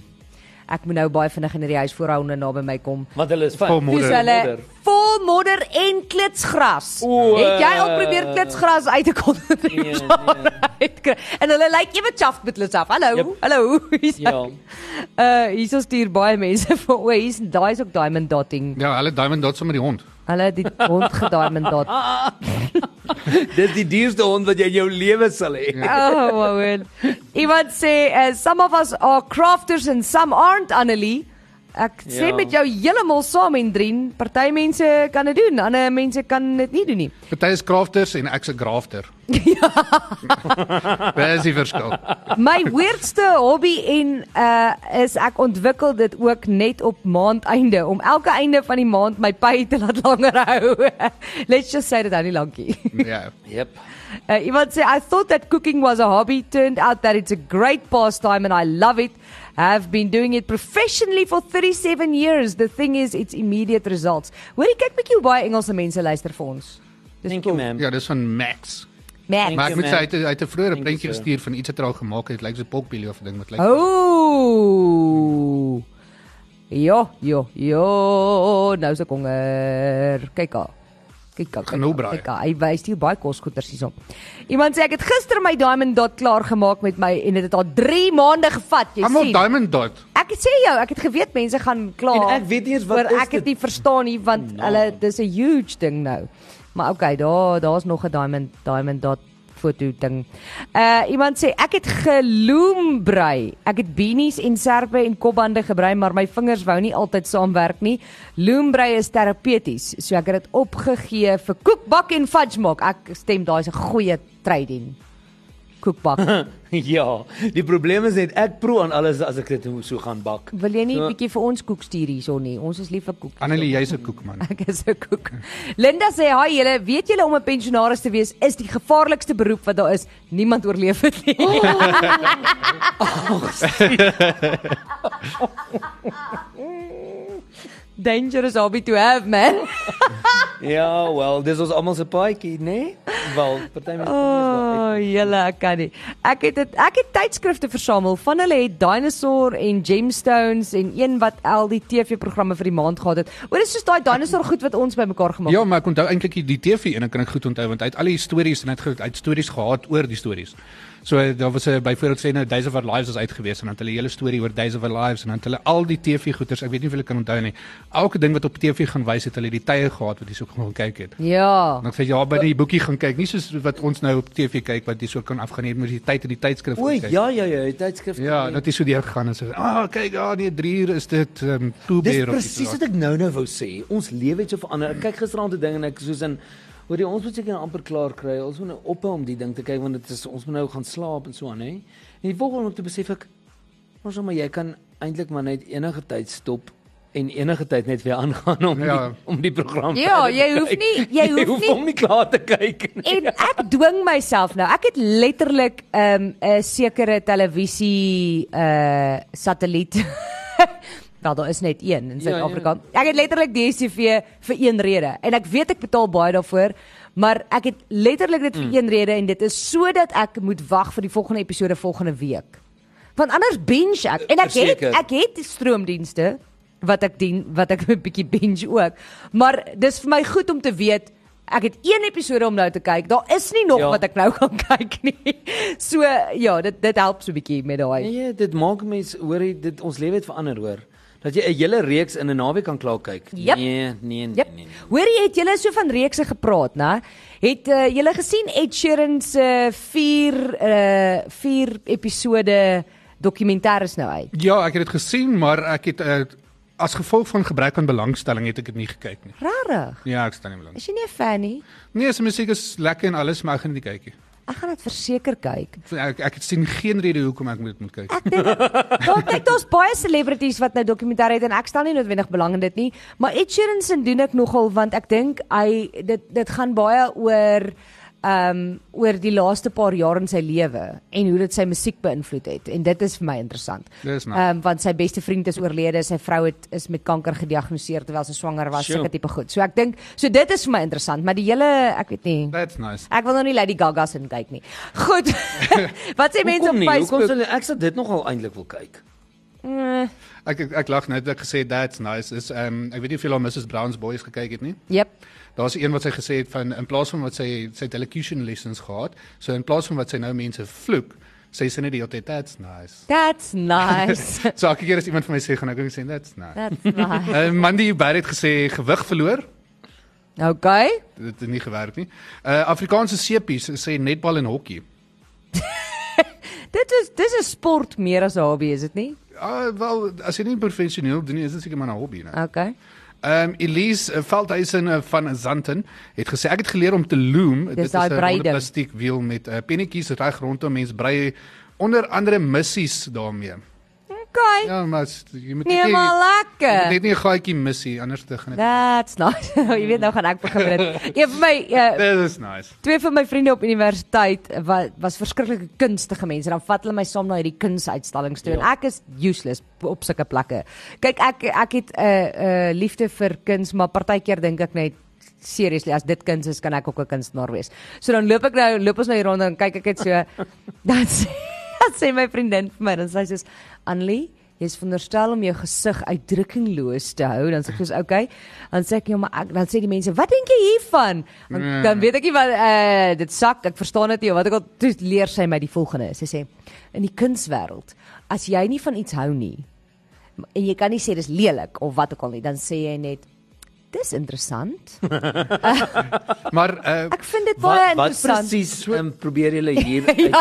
Speaker 2: ek moet nou baie vinnig in die huis voorhou en naby my kom.
Speaker 3: Want hulle is
Speaker 4: Vol
Speaker 3: fyn.
Speaker 4: modder.
Speaker 2: Dis hulle
Speaker 3: Modder.
Speaker 2: vol modder, modder en klitsgras.
Speaker 3: Oeh.
Speaker 2: Het jy
Speaker 3: eh.
Speaker 2: al probeer klitsgras uit 'n
Speaker 3: Ja. Nee.
Speaker 2: kondensator uitkry? En hulle lyk ewe chaff met hulle self. Hallo,
Speaker 3: Jep.
Speaker 2: hallo. hier's hy.
Speaker 3: Ja.
Speaker 2: Uh hierso stuur baie mense vir o, hier's daai is ook diamond dotting.
Speaker 4: Ja, hulle diamond dots sommer die hond.
Speaker 2: Hulle het die hond gediamond dot.
Speaker 3: Dis die duurste hond wat jy in jou lewe sal hê.
Speaker 2: Oh, Owen. Iemand sê uh, some of us are crafters and some aren't Annelie. Ek sê
Speaker 3: Ja.
Speaker 2: met jou heeltemal saam en drien. Party mense kan dit doen, ander mense kan dit nie doen nie.
Speaker 4: Party is crafters en ek's 'n grafter. Ja. Dis die verskil.
Speaker 2: My weirdste hobby en uh is ek ontwikkel dit ook net op maandeinde om elke einde van die maand my pay te laat langer hou. Let's just say dit hou nie lankie.
Speaker 4: Ja.
Speaker 3: Jep.
Speaker 2: Uh, iemand sê I thought that cooking was a hobby turned out that it's a great pastime and I love it. Have been doing it professionally for 37 years. The thing is it's immediate results. Hoorie kyk bietjie hoe baie Engelse mense luister vir ons. Dis
Speaker 3: Thank you ma'am.
Speaker 4: Ja, dis van Max.
Speaker 2: Mac.
Speaker 3: Ehm.
Speaker 4: Maar ek
Speaker 3: you,
Speaker 4: moet
Speaker 3: man.
Speaker 4: sê hy het hy het 'n vroeë
Speaker 3: you,
Speaker 4: prentjie
Speaker 3: sir.
Speaker 4: gestuur van iets wat hy al gemaak het. Dit lyk so popbelly of 'n ding wat lyk.
Speaker 2: Oh. Jo, jo, jo. Nou se honger. Kyk haar. Kyk haar.
Speaker 4: Genoeg braai.
Speaker 2: Kyk haar. Hy wys hier baie kosgoeders hierop. Iemand sê ek het gister my diamond dot klaar gemaak met my en dit het al 3 maande gevat, jy
Speaker 4: Almal
Speaker 2: sien.
Speaker 4: diamond dot.
Speaker 2: Ek sê jou, ek het geweet mense gaan kla.
Speaker 3: En ek weet nie eens wat
Speaker 2: oor
Speaker 3: is
Speaker 2: ek het
Speaker 3: dit.
Speaker 2: nie verstaan nie want
Speaker 3: Nou.
Speaker 2: hulle dis 'n huge ding nou. Maar okay, daar daar's nog 'n diamond diamond dot foto ding. Uh iemand sê ek het geloom brei. Ek het beanies en serpe en kopbande gebrei, maar my vingers wou nie altyd saamwerk nie. Loom brei is terapeuties, so ek het dit opgegee vir koekbak en fudge maak. Ek stem daai's 'n goeie trade-in. Koekbak.
Speaker 3: Ja, die probleem is net ek proe aan alles as ek dit so gaan bak.
Speaker 2: Wil jy nie 'n
Speaker 3: So-
Speaker 2: bietjie vir ons koek stuur hierson nie? Ons is lief vir koek.
Speaker 4: Annelie, jy's 'n koekman.
Speaker 2: Ek is 'n koek. Linda sê, "Haai julle, weet julle om 'n pensionaris te wees is die gevaarlikste beroep wat daar is. Niemand oorleef dit nie." Dangerous hobby to have, man.
Speaker 3: Ja, wel, dis ons almal se paadjie, né? Nee? Wel, party mense
Speaker 2: O, oh, julle, ek kan nie. Ek het dit ek het tydskrifte versamel. Van hulle het Dinosaur en Gemstones en een wat al die TV-programme vir die maand gehad het. Oor is soos daai dinosaur goed wat ons bymekaar gemaak het.
Speaker 4: Ja, maar ek onthou eintlik die- die TV en dan kan ek goed onthou want hy het al die stories en hy het, ge- hy het stories gehad oor die stories. So eh, daar was 'n byvoorbeeld sê nou Days of Our Lives was uitgewees en dan het hulle 'n hele storie oor Days of Our Lives en dan het hulle al die TV goeters, ek weet nie of julle kan onthou nie. Elke ding wat op TV gaan wys het hulle die tye gehad wat jy so gaan kyk het.
Speaker 2: Ja.
Speaker 4: En ek sê ja, by die boekie gaan kyk, nie soos wat ons nou op TV kyk wat jy so kan afgaan nie, jy moet die tyd in die tydskrif
Speaker 3: O,
Speaker 4: gaan kyk.
Speaker 3: ja, ja, ja, die tydskrif.
Speaker 4: Ja, dat is so deur gegaan en sê, "Ah, kyk, ja, nee, 3 uur is dit ehm um, Two
Speaker 3: Dis
Speaker 4: Bear of iets
Speaker 3: presies
Speaker 4: so."
Speaker 3: wat ek nou nou wou sê. Ons lewe het so verander. Ek kyk gisteraand 'n ding en ek soos in hoor jy ons moet seker nou amper klaar kry. Ons moet nou ophou om die ding te kyk want dit is ons moet nou gaan slaap en so aan, hè. En die volgende om te besef ek ons maar jy kan eintlik maar net enige tyd stop en enige tyd net weer aangaan om ja.
Speaker 4: Ja.
Speaker 3: die, om die program
Speaker 2: Ja,
Speaker 3: verder te
Speaker 2: jy hoef
Speaker 3: kyk.
Speaker 2: nie- jy hoef nie-
Speaker 3: hom nie klaar te kyk nie.
Speaker 2: en ek dwing myself nou. Ek het letterlik 'n um, 'n sekere televisie uh satelliet. Wel, daar is net een in
Speaker 3: Ja, ja.
Speaker 2: Suid-Afrika. Ek het letterlik DStv vir een rede en ek weet ek betaal baie daarvoor, maar ek het letterlik dit
Speaker 3: Mm.
Speaker 2: vir een rede en dit is sodat ek moet wag vir die volgende episode volgende week. Want anders binge ek en ek het
Speaker 3: Verseker.
Speaker 2: ek het die stroomdienste wat ek dien wat ek 'n bietjie binge ook. Maar dis vir my goed om te weet ek het een episode om nou te kyk. Daar is nie nog
Speaker 3: Ja.
Speaker 2: ja. wat ek nou kan kyk nie. So ja, dit dit help so 'n bietjie met daai.
Speaker 3: Nee, dit maak mense hoor jy dit ons lewe het verander hoor. Dat jy 'n hele reeks in 'n naweek kan klaar kyk.
Speaker 2: Jep.
Speaker 3: Nee, nee, nee,
Speaker 2: Jep.
Speaker 3: nee. nee.
Speaker 2: Hoor jy het julle so van reekse gepraat, né? Het uh, julle gesien Ed eh, Sheeran se 4 uh 4 episode dokumentaires nou uit?
Speaker 4: Ja, ek het dit gesien, maar ek het uh, as gevolg van gebrek aan belangstelling het ek dit nie gekyk nie.
Speaker 2: Rarig.
Speaker 4: Ja, ek staan nie belang.
Speaker 2: Is jy nie 'n fan nie?
Speaker 4: Nee, se musiek is lekker en alles, maar ek gaan dit nie kyk nie.
Speaker 2: Ek gaan dit verseker kyk.
Speaker 4: Ek ek het sien geen rede hoekom ek moet dit moet kyk.
Speaker 2: Ek dink daar kyk daar's baie celebrities wat nou dokumentêre het en ek stel nie noodwendig belang in dit nie, maar Ed Sheeran se doen ek nogal want ek dink hy dit dit gaan baie oor ehm um, oor die laaste paar jaar in sy lewe en hoe dit sy musiek beïnvloed het en dit is vir my interessant.
Speaker 4: Dis
Speaker 3: nou.
Speaker 4: nice.
Speaker 2: Ehm um, want sy beste vriend is oorlede, sy vrou het is met kanker gediagnoseer terwyl sy swanger was,
Speaker 3: Sjoe.
Speaker 2: sulke tipe goed. So ek dink so dit is vir my interessant, maar die hele ek weet nie.
Speaker 4: That's nice.
Speaker 2: Ek wil nou nie Lady Gaga se kyk nie. Goed. Wat sê mense op
Speaker 3: Hoekom nie?
Speaker 2: Facebook?
Speaker 3: Hoekom sal ek sal dit nogal eintlik wil kyk?
Speaker 2: Mm,
Speaker 4: Ek ek, ek lag net ek gesê that's nice. Is ehm um, ek weet nie of jy al Mrs Brown's Boys gekyk het nie.
Speaker 2: jep.
Speaker 4: Daar's een wat sy gesê het van in plaas van wat sy sy het elocution lessons gehad, so in plaas van wat sy nou mense vloek, sê sy net die hele tyd that's nice.
Speaker 2: That's nice.
Speaker 4: So elke keer as iemand vir my sê gaan ek ook sê that's nice.
Speaker 2: That's nice.
Speaker 4: Uh, Mandy Barrett het gesê gewig verloor.
Speaker 2: Okay.
Speaker 4: Dit het nie gewerk nie. Uh Afrikaanse sepies sê netbal en hokkie.
Speaker 2: Dit is dis 'n sport meer as 'n hobby, is dit nie?
Speaker 4: Ah wel, as jy nie professioneel doen nie, is dit seker maar 'n hobby, né?
Speaker 2: Okay.
Speaker 4: Ehm um, Elise eh, Veldhuizen eh, van Zanten het gesê ek het geleer om te loom. Dit is 'n
Speaker 2: daai
Speaker 4: ronde
Speaker 2: breiding.
Speaker 4: plastiek wiel met uh, pennetjies reg rondom mens brei onder andere missies daarmee.
Speaker 2: Okay.
Speaker 4: Ja, maar as- jy moet
Speaker 2: Nee,
Speaker 4: net
Speaker 2: maar
Speaker 4: jy moet
Speaker 2: lekker.
Speaker 4: net nie 'n gaatjie missie anders te gaan dit.
Speaker 2: That's nice. Jy weet nou gaan ek begin met dit. Een van my uh,
Speaker 4: This is Eh, nice.
Speaker 2: Twee van my vriende op universiteit wat was verskriklike kunstige mense. Dan vat hulle my saam na hierdie kunsuitstallings toe en
Speaker 3: Ja.
Speaker 2: ek is useless op sulke plekke. Kyk, ek ek het 'n uh, uh, liefde vir kuns, maar partykeer dink ek net seriously as dit kuns is kan ek ook 'n kunstenaar wees. So dan loop ek nou loop ons nou hier rond en kyk ek net so dan sê, dan Ja, sê my vriendin vir my dan sê sy soos Annelie Jy's veronderstel om jou gesig uitdrukkingloos te hou, dan sê ek soos okay. Dan sê ek ja, maar ek, dan sê die mense, "Wat dink jy hiervan?" Dan,
Speaker 4: Mm.
Speaker 2: dan weet ek nie wat eh dit sak, ek verstaan dit nie wat ek al toe leer sy my die volgende. Sy sê in die kunswêreld, as jy nie van iets hou nie en jy kan nie sê dis lelik of wat ook al nie, dan sê jy net dis interessant.
Speaker 4: Maar eh
Speaker 2: Ek vind dit baie
Speaker 3: Wat wat
Speaker 2: interessant.
Speaker 3: presies um, probeer julle hier uitbeeld?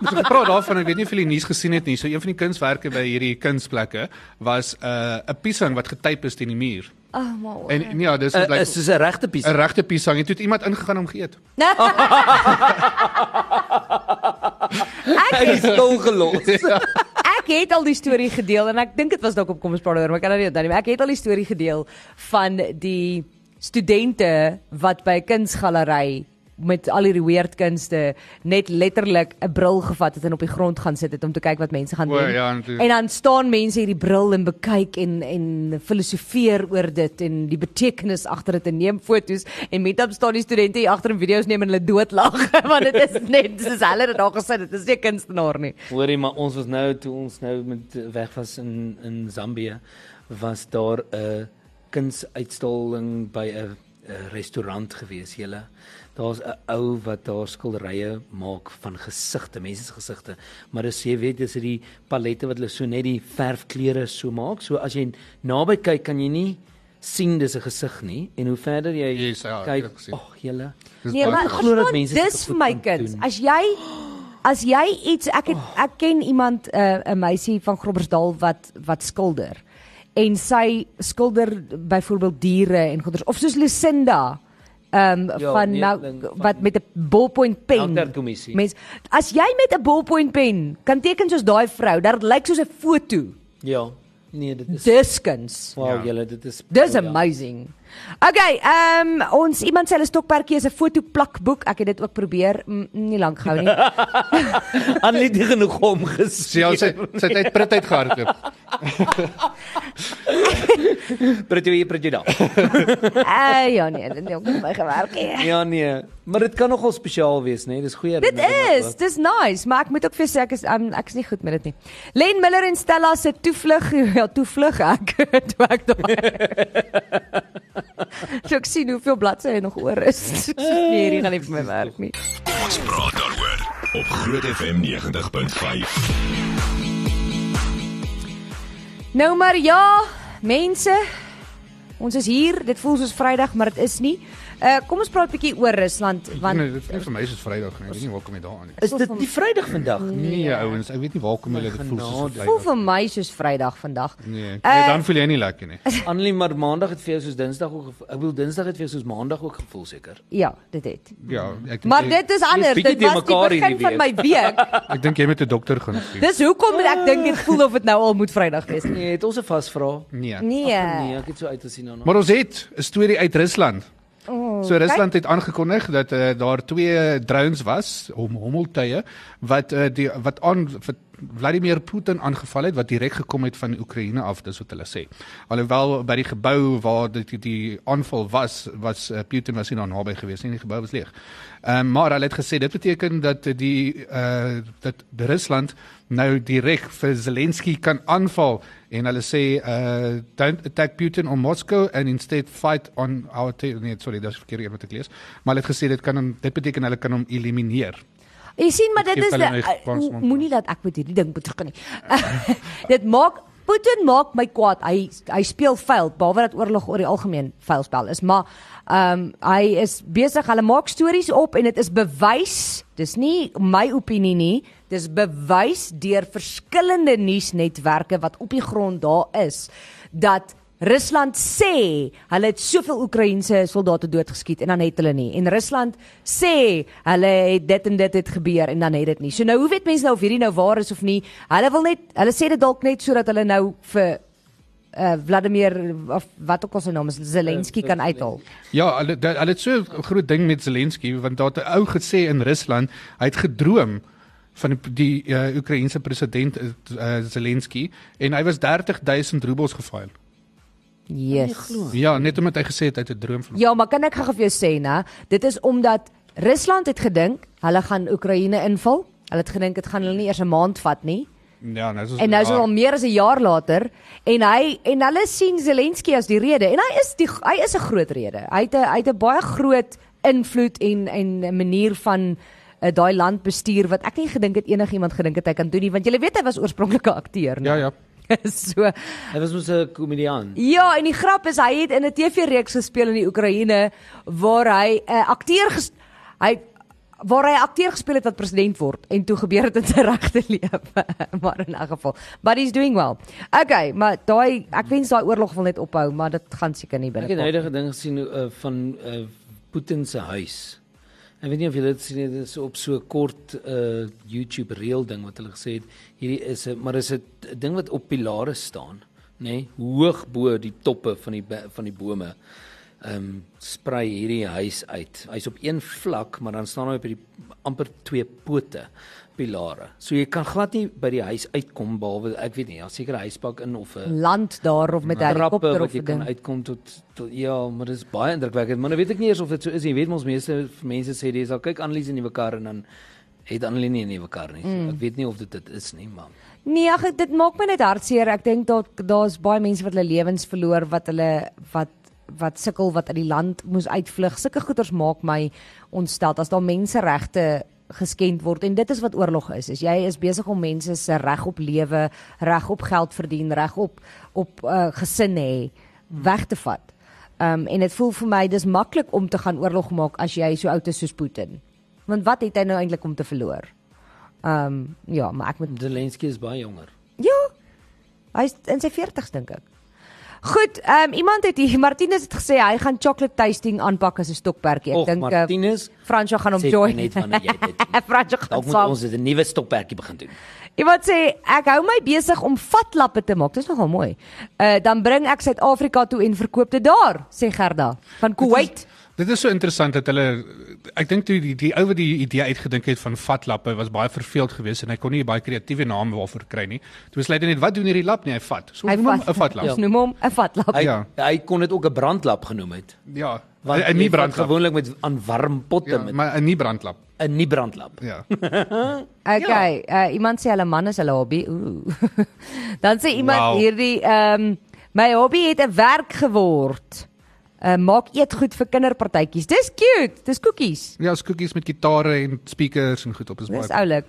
Speaker 4: Ons het gepraat daarvan, ek weet nie of julle die nuus gesien het nie. So een van die kunswerke by hierdie kunsplekke was 'n uh, 'n piesang wat getyp is teen die muur.
Speaker 2: Oh, maar.
Speaker 4: En en ja, dis
Speaker 3: Uh,
Speaker 4: dit lyk
Speaker 3: Is soos 'n regte pies.
Speaker 4: 'n regte piesang en toe het iemand ingegaan om geëet.
Speaker 3: Hy is stil gelos.
Speaker 2: Ek het al die storie gedeel en ek dink dit was dalk op kom ons praat oor, maar ek kan nou nie onthou nie. maar Ek het al die storie gedeel van die studente wat by 'n kunsgalery met al hierdie weird kunste net letterlik 'n bril gevat het en op die grond gaan sit het om te kyk wat mense gaan
Speaker 4: O,
Speaker 2: doen.
Speaker 4: ja, natuurlijk.
Speaker 2: en dan staan mense hierdie bril en bekyk en en filosofeer oor dit en die betekenis agter dit en neem fotos en meetop staan die studente hier agter en video's neem en hulle doodlag want dit is net soos hulle dit daar gesit het. Dit is nie 'n kunstenaar nie.
Speaker 3: Hoorie, maar ons was nou toe ons nou met weg was in in Zambië was daar 'n kunsuitstalling by 'n 'n restaurant gewees, julle. Daar's 'n ou wat daar skilderye maak van gesigte, mense se gesigte. Maar as jy weet, dis hierdie palette wat hulle so net die verfkleure so maak. So as jy naby kyk, kan jy nie sien dis 'n gesig nie en hoe verder jy
Speaker 4: Yes, ja, ek het
Speaker 3: kyk,
Speaker 4: dit gesien.
Speaker 3: ag julle.
Speaker 4: Dis
Speaker 2: Nee,
Speaker 4: baie
Speaker 2: maar
Speaker 3: ek glo dat
Speaker 2: verstaan,
Speaker 3: mense dit
Speaker 2: dis
Speaker 3: op
Speaker 2: vir my
Speaker 3: goed
Speaker 2: kind.
Speaker 3: doen.
Speaker 2: As jy as jy iets ek het, ek ken iemand 'n uh, meisie van Groblersdal wat wat skilder. En sy skilder byvoorbeeld diere en goeders of soos Lucinda ehm um,
Speaker 3: Ja,
Speaker 2: van
Speaker 3: nee,
Speaker 2: nou
Speaker 3: ding van-
Speaker 2: wat met 'n ballpoint pen.
Speaker 3: Melkterkommissie.
Speaker 2: Mens as jy met 'n ballpoint pen kan teken soos daai vrou, dat lyk soos 'n foto.
Speaker 3: Ja. Nee, dit is
Speaker 2: Dis kuns.
Speaker 3: Wow,
Speaker 4: Ja.
Speaker 3: ja. julle, dit is
Speaker 2: Dis
Speaker 3: ja.
Speaker 2: amazing. Okay, ehm um, ons iemand sê hulle stokperdjie is 'n fotoplakboek. Ek het dit ook probeer, mm, nie lank gehou nie.
Speaker 3: Annelie het nie genoeg hom
Speaker 4: Sy al
Speaker 3: gesien.
Speaker 4: sy sy het uit pret uit gehardloop.
Speaker 3: Pretjie pretjie daar.
Speaker 2: Ah ja nee, dit het ook nie vir my gewerk nie.
Speaker 3: Ja nee, maar dit kan nogal spesiaal wees, né? Nee? Dis goeie.
Speaker 2: Dit is, dis nice, maar ek moet ook vir jou sê ek is um, ek is nie goed met dit nie. Len Miller en Stella se toevlug, ja, toevlug ek toe ek daai. so ek sien hoeveel bladsye nog oor is. nee, hierdie gaan nie vir my werk nie.
Speaker 1: Ons praat daaroor op Groot FM 90.5.
Speaker 2: Nou maar ja, mense. Ons is hier. Dit voel soos Vrydag, maar dit is nie. Uh kom ons praat bietjie oor Rusland
Speaker 4: Want nee,
Speaker 2: want
Speaker 4: dit is nie vir my is dit Vrydag nie. Ek weet nie waar kom jy daaraan nie.
Speaker 3: Is dit die Vrydag vandag?
Speaker 4: Nee, ouens, ek weet nie waar kom julle dit voel soos 'n
Speaker 2: voel
Speaker 4: Vrydag.
Speaker 2: vir my soos Vrydag vandag.
Speaker 4: Nee, nee,
Speaker 2: Eh,
Speaker 4: dan voel jy nie lekker nie.
Speaker 3: Annelie, maar Maandag het vir jou soos Dinsdag ook gevoel. Ek bedoel Dinsdag het vir jou soos Maandag ook gevoel seker.
Speaker 2: Ja, dit het.
Speaker 4: Ja, ek dink
Speaker 2: Maar
Speaker 4: jy-
Speaker 2: dit is anders.
Speaker 3: bietjie
Speaker 2: Dit was die
Speaker 3: deurmekaar
Speaker 2: begin
Speaker 3: hierdie
Speaker 2: van my week.
Speaker 4: ek dink jy moet 'n dokter gaan sien.
Speaker 2: Dis hoekom ek dink dit voel of dit nou al moet Vrydag wees.
Speaker 3: Nee, het ons 'n vasvra?
Speaker 4: Nee.
Speaker 3: Ag, Nee,
Speaker 2: Nee.
Speaker 3: ek het so uit gesien daarna.
Speaker 4: Maar ons het 'n storie uit Rusland.
Speaker 2: Oh,
Speaker 4: So Rusland het aangekondig eh, dat uh, daar twee drones was, hom hommeltuie eh, wat uh, die wat aan wat Vladimir Putin aangeval het wat direk gekom het van Oekraïne af, dis wat hulle sê. Alhoewel by die gebou waar die die, die aanval was, was eh, Putin was nie daar naby gewees nie, die gebou was leeg. Ehm maar hulle het gesê dit beteken dat die eh dat Rusland nou direk vir Zelensky kan aanval en hulle sê uh don't attack Putin on Moscow and instead fight on our ter- nee sorry dis verkeerde een wat ek lees maar hulle het gesê dit kan hom dit beteken hulle kan hom elimineer
Speaker 2: Jy sien maar
Speaker 4: Dit
Speaker 2: dit
Speaker 4: geef
Speaker 2: is
Speaker 4: hulle
Speaker 2: die-
Speaker 4: my
Speaker 2: eh,
Speaker 4: kans
Speaker 2: o-
Speaker 4: om-
Speaker 2: moenie dat ek met hierdie ding betrokke nie. dit maak Putin maak my kwaad. Hy hy speel vuil, behalwe dat oorlog oor die algemeen vuil spel is, maar ehm hy is besig, hulle maak stories op en dit is bewys. Dis nie my opinie nie. Dis bewys deur verskillende nuusnetwerke wat op die grond daar is dat Rusland sê hulle het soveel Oekraïense soldate doodgeskiet en dan het hulle nie. En Rusland sê hulle het dit en dit het gebeur en dan het dit nie. So nou hoe weet mense nou of hierdie nou waar is of nie? Hulle wil net hulle sê dit dalk net sodat hulle nou vir uh, Vladimir of wat ook al sy naam is, Zelensky kan uithaal.
Speaker 4: ja hulle dat- hulle het so 'n groot ding met Zelensky want daar het 'n ou gesê in Rusland hy het gedroom van die, die uh, Oekraïense president uh, Zelensky en hy was 30000 roebels gefaal
Speaker 2: Yes.
Speaker 4: ja net omdat hy gesê het hy het 'n droom van
Speaker 2: Ja, maar kan ek gou vir jou sê, né? Dit is omdat Rusland het gedink hulle gaan Oekraïne inval. Hulle het gedink dit gaan hulle nie eers 'n maand vat nie.
Speaker 4: ja nou is ons
Speaker 2: En nou is dit
Speaker 4: daar.
Speaker 2: al meer as 'n jaar later en hy en hulle sien Zelensky as die rede en hy is die hy is 'n groot rede. Hy het 'n hy het 'n baie groot invloed en en 'n manier van uh, daai land bestuur wat ek nie gedink het enigiemand gedink het hy kan doen nie want jy weet hy was oorspronklik 'n akteur.
Speaker 4: ja
Speaker 2: Ja.
Speaker 4: ja
Speaker 2: so
Speaker 3: Hy was mos 'n komediant.
Speaker 2: ja, en die grap is hy het in 'n TV-reeks gespeel in die Oekraïne waar hy 'n akteur ges- hy waar hy 'n akteur gespeel het wat president word en toe gebeur dit in sy regte lewe. maar in 'n geval, but he's doing well. Okay, maar daai ek wens daai oorlog wil net ophou, maar dit gaan seker nie binne.
Speaker 3: Ek het 'n
Speaker 2: kort
Speaker 3: huidige ding gesien uh, van uh, Putin se huis. Ek weet nie of julle dit sien nie, dit is op so 'n kort uh, YouTube reel ding wat hulle gesê het hierdie is 'n maar is 'n t- ding wat op pilare staan, nê, nee, hoog bo die toppe van die be- van die bome. Ehm um, sprei hierdie huis uit. Hy's op een vlak, maar dan staan hy op hierdie amper twee pote pilare. So jy kan glad nie by die huis uitkom behalwe ek weet nie, daar's seker 'n huispak in of 'n
Speaker 2: land daar of met 'n
Speaker 3: trappe
Speaker 2: helikopter of
Speaker 3: wat jy
Speaker 2: 'n
Speaker 3: kan
Speaker 2: ding.
Speaker 3: uitkom tot, tot ja, maar dit is baie indrukwekkend. Maar nou weet ek nie eers of dit so is nie. Jy weet mos meeste mense sê dis al kyk Annelies 'n nuwe kar en dan het Annelies nie 'n nuwe kar nie. So, mm. Ek weet nie of dit dit is nie, maar
Speaker 2: Nee, ag dit maak my net hartseer. Ek dink dat daar's baie mense wat hulle lewens verloor wat hulle wat wat sukkel wat uit die land moes uitvlug. Sulke goeters maak my ontstel as daar menseregte geskend word en dit is wat oorlog is. Is jy is besig om mense se reg op lewe, reg op geld verdien, reg op op uh, gesin hê weg te vat. Um en dit voel vir my dis maklik om te gaan oorlog maak as jy so oud is soos Putin. Want wat het hy nou eintlik om te verloor? Um ja, maar ek moet
Speaker 3: Zelensky is baie jonger.
Speaker 2: Ja. Hy's in sy 40's dink ek. Goed, ehm um, iemand het hier Martinus het gesê hy gaan chocolate tasting aanpak as 'n stokperdjie. Ek
Speaker 3: Och,
Speaker 2: dink eh,
Speaker 3: Martinus,
Speaker 2: Fransjo gaan hom
Speaker 3: sê
Speaker 2: join.
Speaker 3: my net wanneer jy dit doen.
Speaker 2: Fransjo gaan
Speaker 3: dalk moet
Speaker 2: saam.
Speaker 3: ons dit 'n nuwe stokperdjie begin doen.
Speaker 2: Iemand sê ek hou my besig om vatlappe te maak. Dis nogal mooi. Uh dan bring ek Suid-Afrika toe en verkoop dit daar, sê Gerda van Kuwait.
Speaker 4: Dit is so interessant dat hulle ek dink toe die die ou wat die idee uitgedink het van vatlappe was baie verveeld geweest en hy kon nie 'n baie kreatiewe naam daarvoor kry nie. Toe besluit hy net wat doen hierdie lap nie, hy vat. So
Speaker 2: Hy
Speaker 4: noem hom
Speaker 2: vat-
Speaker 4: 'n vatlap.
Speaker 2: Ons
Speaker 4: Ja.
Speaker 2: noem hom 'n vatlap.
Speaker 3: Hy ja.
Speaker 4: Ja.
Speaker 3: hy kon dit ook 'n brandlap genoem het.
Speaker 4: ja.
Speaker 3: Want
Speaker 4: En
Speaker 3: jy
Speaker 4: nie
Speaker 3: vat
Speaker 4: brandlap.
Speaker 3: gewoonlik met aan warm potte ja,
Speaker 4: Ja,
Speaker 3: met
Speaker 4: maar 'n nie brandlap.
Speaker 3: 'n nie brandlap.
Speaker 4: Ja.
Speaker 2: Okay, ja. uh, iemand sê hulle man is hulle hobby. Ooh. Dan sê iemand wow.
Speaker 4: Wauw.
Speaker 2: hierdie ehm um, my hobby het 'n werk geword. Uh, maak eetgoed vir kinderpartytjies. Dis cute. Dis koekies.
Speaker 4: Ja, is koekies met gitare en speakers en goed op is baie.
Speaker 2: Dis oulik.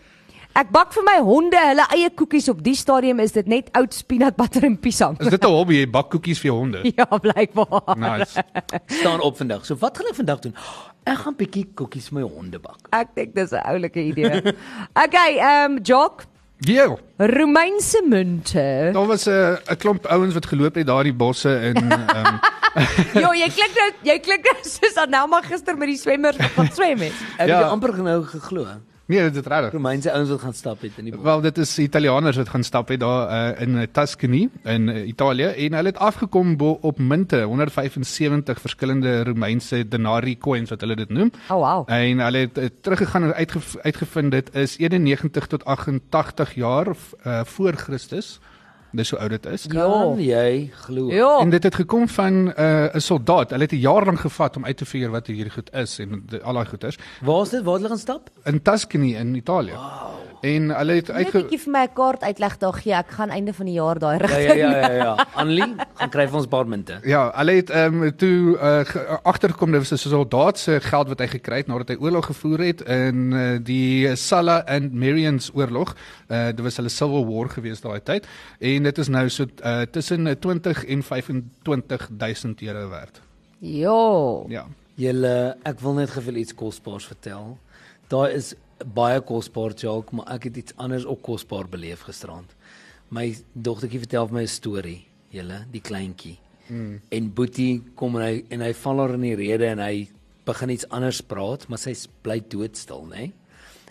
Speaker 2: Ek bak vir my honde hulle eie koekies. Op die stadium is dit net oud peanut butter en piesang.
Speaker 4: Is dit 'n hobby jy bak koekies vir jou honde?
Speaker 2: ja, blykbaar.
Speaker 4: Nice.
Speaker 3: Staan op vandag. So wat gaan ek vandag doen? Ek gaan bietjie koekies vir my honde bak.
Speaker 2: Ek dink dis 'n oulike idee. Okay, ehm um, Jock,
Speaker 4: Ja.
Speaker 2: Romeinse munte.
Speaker 4: Daar was 'n 'n klomp ouens wat geloop het daar in die bosse en ehm
Speaker 2: Jo, jy klink nou jy klink nou soos Anelma gister met die swemmers wat gaan swem het.
Speaker 3: Ek ja.
Speaker 4: Ja.
Speaker 3: het amper nou geglo.
Speaker 4: Nee, dit is regtig.
Speaker 3: Romeinse ouens wat gaan stap het in die bos.
Speaker 4: Wel dit is Italianers wat gaan stap het daar uh, in eh, Tuscany in uh, Italië en hulle het afgekom bo, op munte 175 verskillende Romeinse denarii coins wat hulle dit noem.
Speaker 2: Oh wow.
Speaker 4: En hulle het uh, teruggegaan en uitgev uitgevind dit is 91 tot 88 jaar uh, voor Christus. Dis hoe oud dit is.
Speaker 3: Kan jy glo?
Speaker 2: Ja.
Speaker 4: En dit het gekom van 'n uh, 'n soldaat. Hulle het 'n jaar lank gevat om uit te figure wat hierdie goed is en de, al daai goeters
Speaker 3: Waar is dit? Waar het hulle gaan stap?
Speaker 4: in Tuscany in Italië. Wow. En hulle het
Speaker 2: Net
Speaker 4: uitge
Speaker 2: bietjie vir my 'n kaart uitleg daar gee. Ek gaan einde van die jaar daai
Speaker 3: Ja
Speaker 2: rigting.
Speaker 3: ja ja ja ja. Annelie, gaan kry vir ons paar munte.
Speaker 4: Ja, hulle het ehm um, toe uh, ge- agtergekom dit was 'n soldaat se geld wat hy gekry het nadat hy oorlog gevoer het in uh, die Salla and Marians oorlog. Uh, dit was hulle Civil War gewees daai tyd en dit is nou so uh, tussen eh, 20 en 25000 euro werd.
Speaker 2: Jo.
Speaker 4: Ja.
Speaker 3: Julle, ek wil net gou vir iets kosbaars vertel. Daai is baie kosbaar joke, maar ek het iets anders ook kosbaar beleef gisterand. My dogtertjie vertel vir my 'n storie, julle, die kleintjie. Mm. En Boetie kom en hy en hy val haar in die rede en hy begin iets anders praat, maar sy bly doodstil, nê? Nee?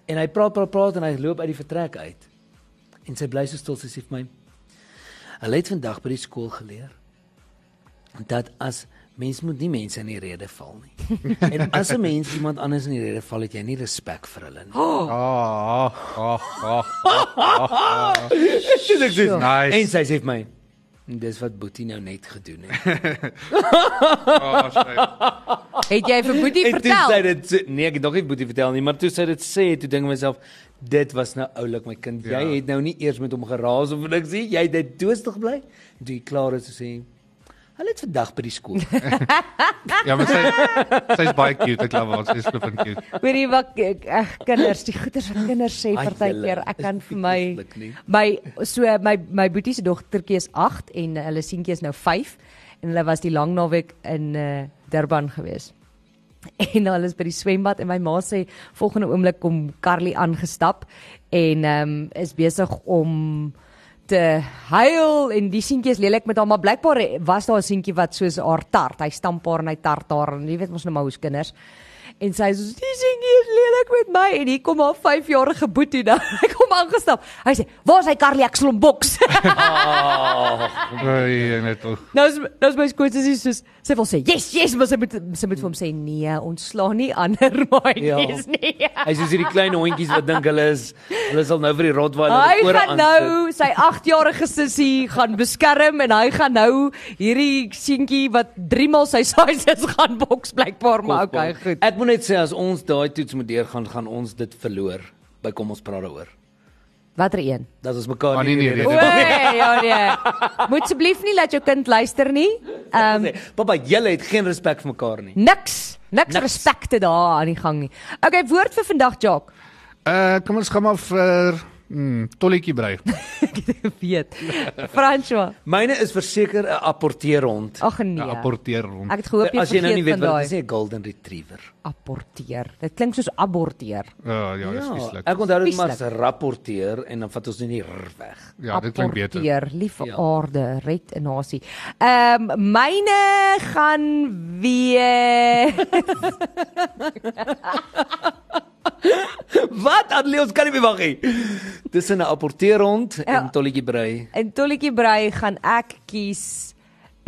Speaker 3: En hy praat praat praat en hy loop uit die vertrek uit. En sy bly so stil, sy sê vir my: "Hulle het vandag by die skool geleer dat as mens moet nie mense in die rede val nie. en as 'n mens iemand anders in die rede val, het jy nie respek vir hulle nie. Oh,
Speaker 4: Ah, ah, ah, ah.
Speaker 3: dit is
Speaker 4: Sure. nice.
Speaker 3: En sy sê vir my, dis wat Boetie nou net gedoen het.
Speaker 4: ah shit.
Speaker 2: Het jy vir Boetie
Speaker 3: en toe sy
Speaker 2: vertel?
Speaker 3: dit sê- nee, ek het nog nie Boetie vertel nie, maar toe sy dit sê, toe dink ek myself, dit was nou oulik my kind. Jy
Speaker 4: Ja.
Speaker 3: het nou nie eers met hom geraas of niks nie. Jy het dit doostig bly. En toe jy klaar is, toe sê hy, Hulle het vandag by die skool.
Speaker 4: Ja, maar sy sy's baie cute, ek glo sy's flippend cute.
Speaker 2: Weet jy wat ek ag kinders, die goeters wat kinders sê
Speaker 3: Ai,
Speaker 2: partykeer,
Speaker 3: julle,
Speaker 2: ek
Speaker 3: is
Speaker 2: kan
Speaker 3: nie
Speaker 2: vir my
Speaker 3: lieflik nie.
Speaker 2: my so my my boetie se dogtertjie is 8 en eh, hulle seentjie is nou 5 en hulle was die lang naweek in eh, Durban gewees. en hulle is by die swembad en my ma sê volgende oomblik kom Carly aangestap en ehm um, is besig om te huil en die seentjie is lelik met haar maar blykbaar was daar 'n seentjie wat soos haar tart hy stamp haar en hy tart haar en jy weet mos nou maar hoe's kinders en sy sê die seentjie is lelik met my en hier kom haar 5-jarige boetie dan hy kom aangestap hy sê waar's hy Carly ek slom boks
Speaker 4: Oei, net oh. tog.
Speaker 2: Nou is nou is my skoonsussie soos sy wil sê, "Yes, yes," maar sy moet sy moet vir hom sê, "Nee, ons slaan nie ander maatjies
Speaker 3: Ja.
Speaker 2: nie."
Speaker 3: Hy's soos hierdie klein hondjies wat dink hulle is hulle sal nou vir die
Speaker 2: Hy
Speaker 3: Rottweiler ore
Speaker 2: gaan
Speaker 3: aan.
Speaker 2: nou sy 8-jarige sussie gaan beskerm en hy gaan nou hierdie seentjie wat 3 maal sy size is gaan boks blykbaar, maar okay,
Speaker 3: Kosbaar.
Speaker 2: goed.
Speaker 3: Ek moet net sê as ons daai toets moet deurgaan, gaan ons dit verloor. By kom ons praat daaroor.
Speaker 2: Watter een?
Speaker 3: Dat ons mekaar
Speaker 4: Ah, nee, nee,
Speaker 3: weer-
Speaker 4: nee,
Speaker 2: O, ja nee. Moet asseblief nie laat jou kind luister nie. Ehm
Speaker 4: nee.
Speaker 2: um,
Speaker 3: Sê, nee. Papa, julle het geen respek vir mekaar nie.
Speaker 2: niks, niks
Speaker 3: Niks.
Speaker 2: respekte daar aan die gang nie. Okay, woord vir vandag, Jock.
Speaker 4: Uh kom ons gaan maar vir mm, tolletjie brei.
Speaker 2: Ek weet. François.
Speaker 3: Myne is verseker 'n apporteerhond.
Speaker 2: Ag nee.
Speaker 4: Apporteer rond.
Speaker 2: Ek het gehoop jy
Speaker 3: As jy nou nie weet
Speaker 2: vergeet van
Speaker 3: wat dit
Speaker 2: daai.
Speaker 3: is, 'n golden retriever.
Speaker 2: Apporteer. Dit klink soos aborteer.
Speaker 4: Ja, ja, dis vieslik.
Speaker 3: ek onthou dit maar as
Speaker 2: Vieslik.
Speaker 3: rapporteer en dan vat ons nie die r weg.
Speaker 4: Ja, dit klink beter.
Speaker 2: Apporteer, liefe
Speaker 3: Ja.
Speaker 2: aarde, red 'n nasie. Ehm myne gaan weer
Speaker 3: Wat? Adlie, ons kan nie meer wag nie. Tussen 'n apporteerhond
Speaker 2: Ja.
Speaker 3: en tolletjie brei.
Speaker 2: in Tolletjie Brei gaan ek kies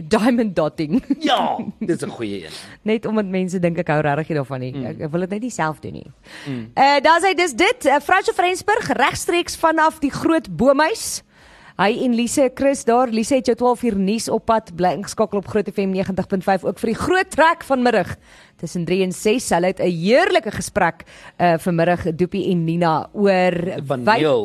Speaker 2: diamond dotting.
Speaker 3: Ja, dis 'n goeie een.
Speaker 2: net omdat mense dink ek hou regtig nie daarvan nie. Ek, ek wil dit net nie self doen nie. Mm. Uh daar's hy dis dit, uh, Fransjo Frensburg regstreeks vanaf die groot boomhuis. Hy en Lise Chris daar. Lise het jou 12 uur nuus op pad bly ingeskakel op Groot FM 90.5 ook vir die groot trek vanmiddag tussen 3 en 6. Hulle het 'n heerlike gesprek uh vanmiddag Doopie en Nina oor
Speaker 3: paneel.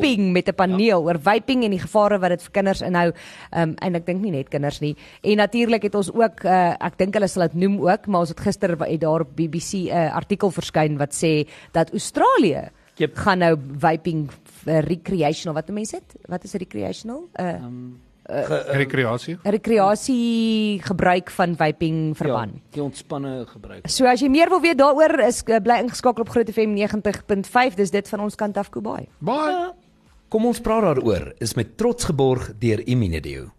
Speaker 2: wyping wiping
Speaker 3: Ja.
Speaker 2: met 'n paneel oor wiping en die gevare wat dit vir kinders inhou. Um en ek dink nie net kinders nie. En natuurlik het ons ook uh, ek dink hulle sal dit noem ook, maar ons het gister wa- het daar op BBC 'n uh, artikel verskyn wat sê dat Australië
Speaker 3: Jep.
Speaker 2: gaan nou wiping uh, recreational wat mense het? Wat is recreational? 'n
Speaker 3: Ehm.
Speaker 2: uh,
Speaker 4: Rekreasie.
Speaker 2: eh, rekreasie gebruik van wiping verband.
Speaker 3: Ja, die ontspanne gebruik.
Speaker 2: So as jy meer wil weet daaroor is uh, bly ingeskakel op Groot FM 90.5. Dis dit van ons kant af Kobai.
Speaker 4: Bye.
Speaker 3: Kom ons praat daaroor is met trots geborg deur Imunedio.